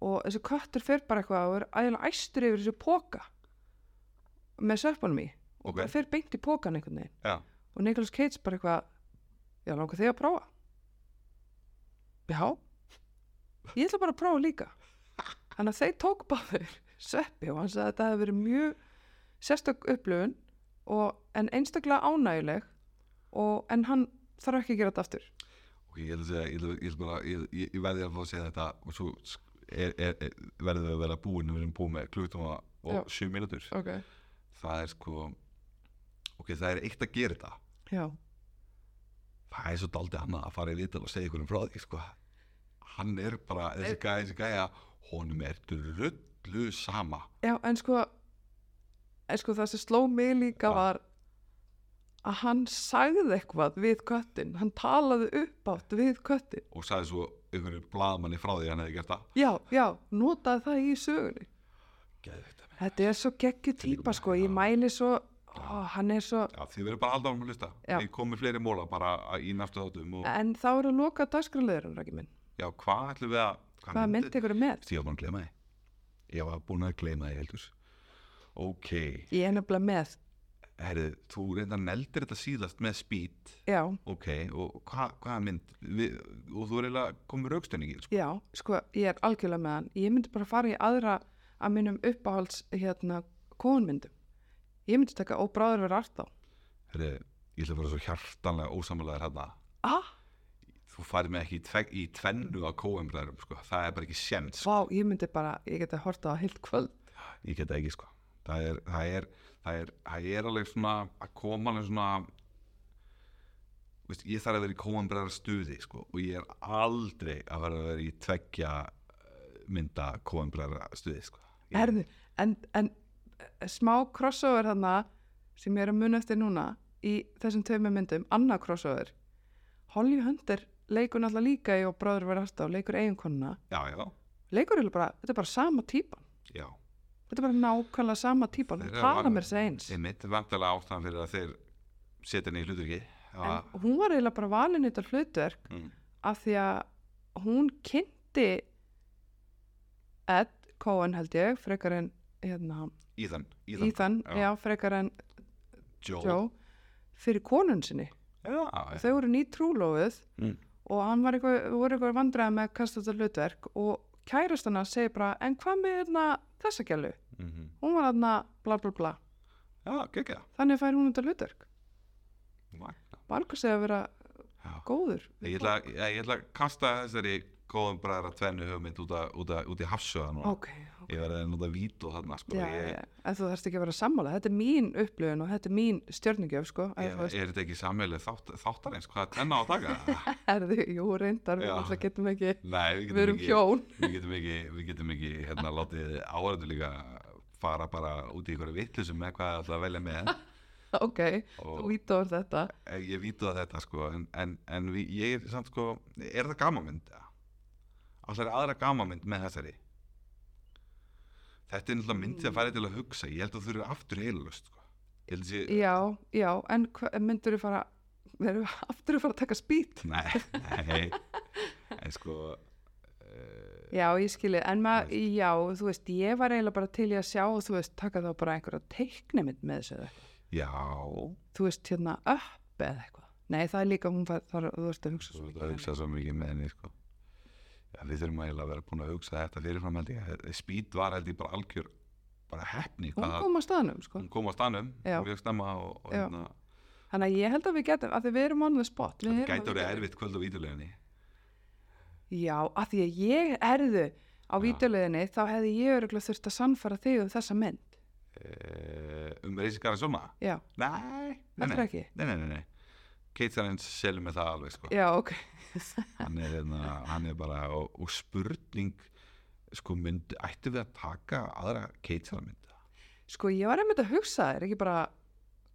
B: og þessi köttur fer bara eitthvað og er ægilega æstur yfir þessu póka með sveppunum í og
A: Ok.
B: bara fer beint í pókan einhvern veginn
A: já,
B: og Nicholas Cage bara eitthvað já, langar þig að prófa já ég ætla bara að prófa líka þannig að þeir tók báður sveppi og hann sagði að þetta hefði verið mjög sérstök upplöfun og, en einstaklega ánægileg og, en hann þarf ekki að gera þetta aftur
A: ok, ég ætla að segja ég, ætla- ég, ætla bara, ég, ég, ég verði að fá að segja þetta og svo er, er, er, verðum við að vera búin við erum búin með klugtum
B: Já.
A: og 7 mínútur
B: ok
A: það er sko ok, það er eitt að gera þetta
B: já,
A: það er svo daldið annað að fara í vital og segja ykkur um frá því sko. hann er bara, þessi gæja, þessi gæja honum er drullu sama
B: já en sko en sko það sem sló mig líka
A: Já.
B: var að hann sagði eitthvað við köttin hann talaði uppátt við köttin
A: og sagði svo einhverju blaðmanni frá því að hann hefði gert það
B: Já, já, notaði það í sögunni.
A: Geðveikt að mér.
B: Þetta er svo geggju típa sko, ég mæli svo, ó, hann er svo,
A: Já, þið verður bara alltaf um að hlusta
B: Já.
A: Ég kom með fleiri móla bara að- í næstu þáttum og
B: en þá eru að loka dagskraleðurinn, Raki minn.
A: já, hvað ætlum við að
B: Hvað myndi ykkur er með?
A: Ég var búin að gleyma því Ég var búin að gleyma því heldur Ok,
B: Ég er nefnilega með,
A: herri, þú reyndar neldir þetta síðast með speed
B: já,
A: Ok, og hvað hva mynd við, og þú er eiginlega komið raukstöningi sko.
B: já, sko, ég er algjörlega með hann. Ég myndi bara fara í aðra að mínum uppáhalds, hérna, konmyndum. Ég myndi taka óbráður verið allt þá.
A: Herri, ég ætla að vera svo hjartanlega ósamlega hérna
B: Ah,
A: Þú farið mig ekki í, tve, í tvennu að kóumræðurum sko. Það er bara ekki sjens
B: vá, ég myndi bara, ég geti að horta á það heilt kvöld.
A: ég get það ekki sko það er, það er, það er, það er alveg svona að koma alveg svona veist, ég þarf að vera í kóanbræðar stuði sko og ég er aldrei að vera að vera í tveggja eh, mynda kóanbræðar stuði sko Ég-
B: Herðu, en, en eh, smá crossover þarna sem ég er að muna eftir núna í þessum tveimur myndum, annað crossover Holly Hunter leikur náttúrulega líka í og bróður verið ástaf, leikur eiginkonuna
A: já, já,
B: leikur eiginlega bara, þetta er bara sama típan
A: já
B: þetta er bara nákvæmlega sama típan hún
A: Þeirra
B: tala
A: var-
B: mér þess eins
A: einmitt, vantilega ástæðan fyrir að þeir setja henni í hluturki
B: en hún var eiginlega bara valin í þetta hlutverk
A: Mm.
B: af því að hún kynnti Ed Cohen held ég frekar en hérna,
A: Íðan, Íðan,
B: Ethan,
A: já.
B: já, frekar en
A: Joe,
B: Joe fyrir konun sinni
A: Já, já,
B: þau voru nýtt trúlófið
A: Mm.
B: og hann var eitthvað, voru eitthvað vandræði með að kasta þetta hlutverk og kærastana segir bara en hvað með hérna, þessa gælu
A: Mhm.
B: hún var hérna bla bla bla
A: já gekkja
B: þannig fær hún þetta hlutverk
A: Magna.
B: Valka segja að vera
A: Já.
B: góður
A: Ég ætla, að- ég ætla að kasta þessari góðum bræðra tvennu hugmynd út, að, út, að, út í hafsöða núna
B: ok, ok
A: Ég verði að nota vít og þarna sko
B: Já,
A: ég,
B: já, en þú þarfst ekki að vera sammála þetta er mín upplöfun og þetta er mín stjörningjöf sko, að
A: Ég,
B: þú veist,
A: er þetta ekki sammeilið þátt, þáttarins? Hvað er tvenna á að taka?
B: erðu, jú, reyndar við
A: Já.
B: alltaf getum ekki,
A: Nei, við
B: við
A: getum
B: erum
A: ekki,
B: hjón
A: við getum ekki, við getum ekki hérna, látið áhverju líka fara bara út í ykkur vitlusum með hvað það ætla að velja með
B: ok,
A: og
B: þú ítóður þetta
A: Eh, ég vítu að þetta sko en, en, en við, ég er samt sko er það gamamynd? Alltaf er aðra gamamynd með þessari Þetta er náttúrulega mynd sem
B: Mm.
A: færi til að hugsa ég held að þú eru aftur heilalust sko. Ég held að sé,
B: já, já, en myndur þú fara verður við aftur að fara að taka spýt
A: nei, nei en sko eh,
B: já, ég skilið, en
A: Þú
B: maður, já, þú veist ég var eiginlega bara til í að sjá, þú veist taka þá bara einhverja teiknimynd með þessu eða eitthvað.
A: já
B: þú veist, hérna, upp eða eitthvað nei, það er líka, hún fær, þar, þú veist að hugsa
A: þú
B: svo
A: veist
B: mikið
A: að
B: um
A: hugsa svo mikið með henni sko. já, við þurfum eiginlega að vera búin að hugsa þetta fyrirfram held ég spýt var held ég bara algjör bara heppni
B: hana.
A: hvað
B: hún kom að staðnum, sko
A: hún kom á stanum
B: Já.
A: mjög stemma og, og
B: Já.
A: hérna,
B: Þannig að ég held að við getum, að því við erum on the spot. Við
A: þetta
B: erum
A: gæti
B: að
A: orðið
B: vita-
A: erfitt kvöld á vítuleginni
B: Já, að því að ég erðu á
A: Já.
B: vídeoleginni, þá hefði ég öruglega þurft að sannfara þig um þessa mynd.
A: uh, um reysingar að soma
B: Já,
A: nei, nei,
B: heldur
A: nei,
B: ekki?
A: nei, nei, nei, nei. Kate Sarins selur með það alveg sko.
B: Já, ok.
A: hann, er, hérna, hann er bara og, og spurning sko mynd, ættum við að taka aðra Kate Saran mynd
B: Sko, ég var einmitt að hugsa þér, ekki bara,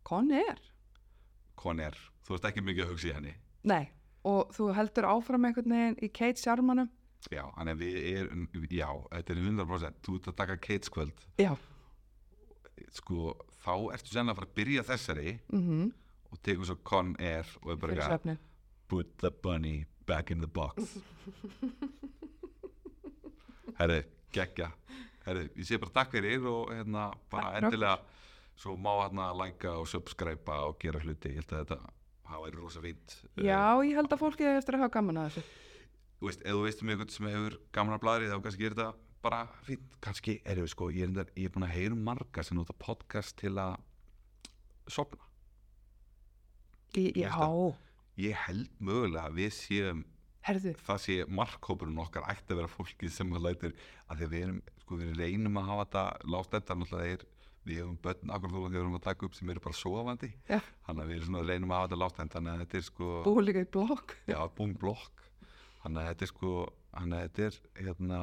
B: kon er?
A: Conner, þú veist ekki mikið að hugsa í henni
B: Nei, og þú heldur áfram einhvern veginn í Kate Sjarmanum.
A: já, hann er, við er, já, þetta er 100% þú ert að taka Kate's kvöld
B: Já.
A: sko, þá ertu sennilega að fara að byrja þessari
B: Mm
A: og tekur svo Conner og er bara
B: Fyrir
A: eitthvað eh,
B: svefnin.
A: put the bunny back in the box herri, geggja herri, ég sé bara takk fyrir og hérna bara
B: Takk fyrir
A: endilega svo má hérna læka og subscribe og gera hluti, ég held að þetta hafa verið rosa fínt Eh,
B: Já, ég held að fólki eigi eftir að hafa gaman að þessu.
A: þú veist, ef þú veist um einhvern sem hefur gamla bladri þá kannski er þetta bara fínt kannski, er sko, ég er, reyndar- ég er búin að heyra um marga sem nota podcast til að sopna
B: Í-
A: Ég held
B: Já,
A: ég held mögulega að við séum
B: herðu,
A: það sé markhópurinn okkar ætti að vera fólkið sem að lætur að því að við erum, sko við reynum að hafa þetta lást þetta náttúrulega er við hefum börn akkur þóla þegar við erum að taka upp sem eru bara sofandi
B: Já.
A: þannig að við erum svona að reynum að hafa þetta lást þannig að þetta er sko
B: búið líka í blokk.
A: já, búin blokk þannig að þetta er sko þannig að þetta er hérna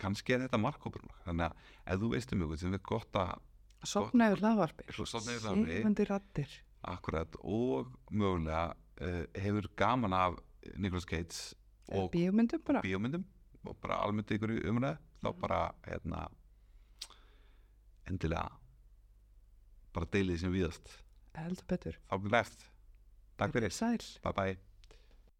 A: kannski er þetta markhópurinn okkar þannig að ef þú veist um ykkur sem er gott að
B: Sopna yfir hlaðvarpi.
A: Svo- Sko- sofna yfir hlaðvarpi.
B: Sigmandi rattir.
A: akkurat og mögulega uh, hefur gaman af Nicholas Gates og
B: Bíómyndum bara.
A: bíómyndum og bara almennt ykkur umræð þá bara hérna endilega bara deilið sem viðast
B: heldur betur
A: þá blir left takk fyrir,
B: sæl
A: bye bye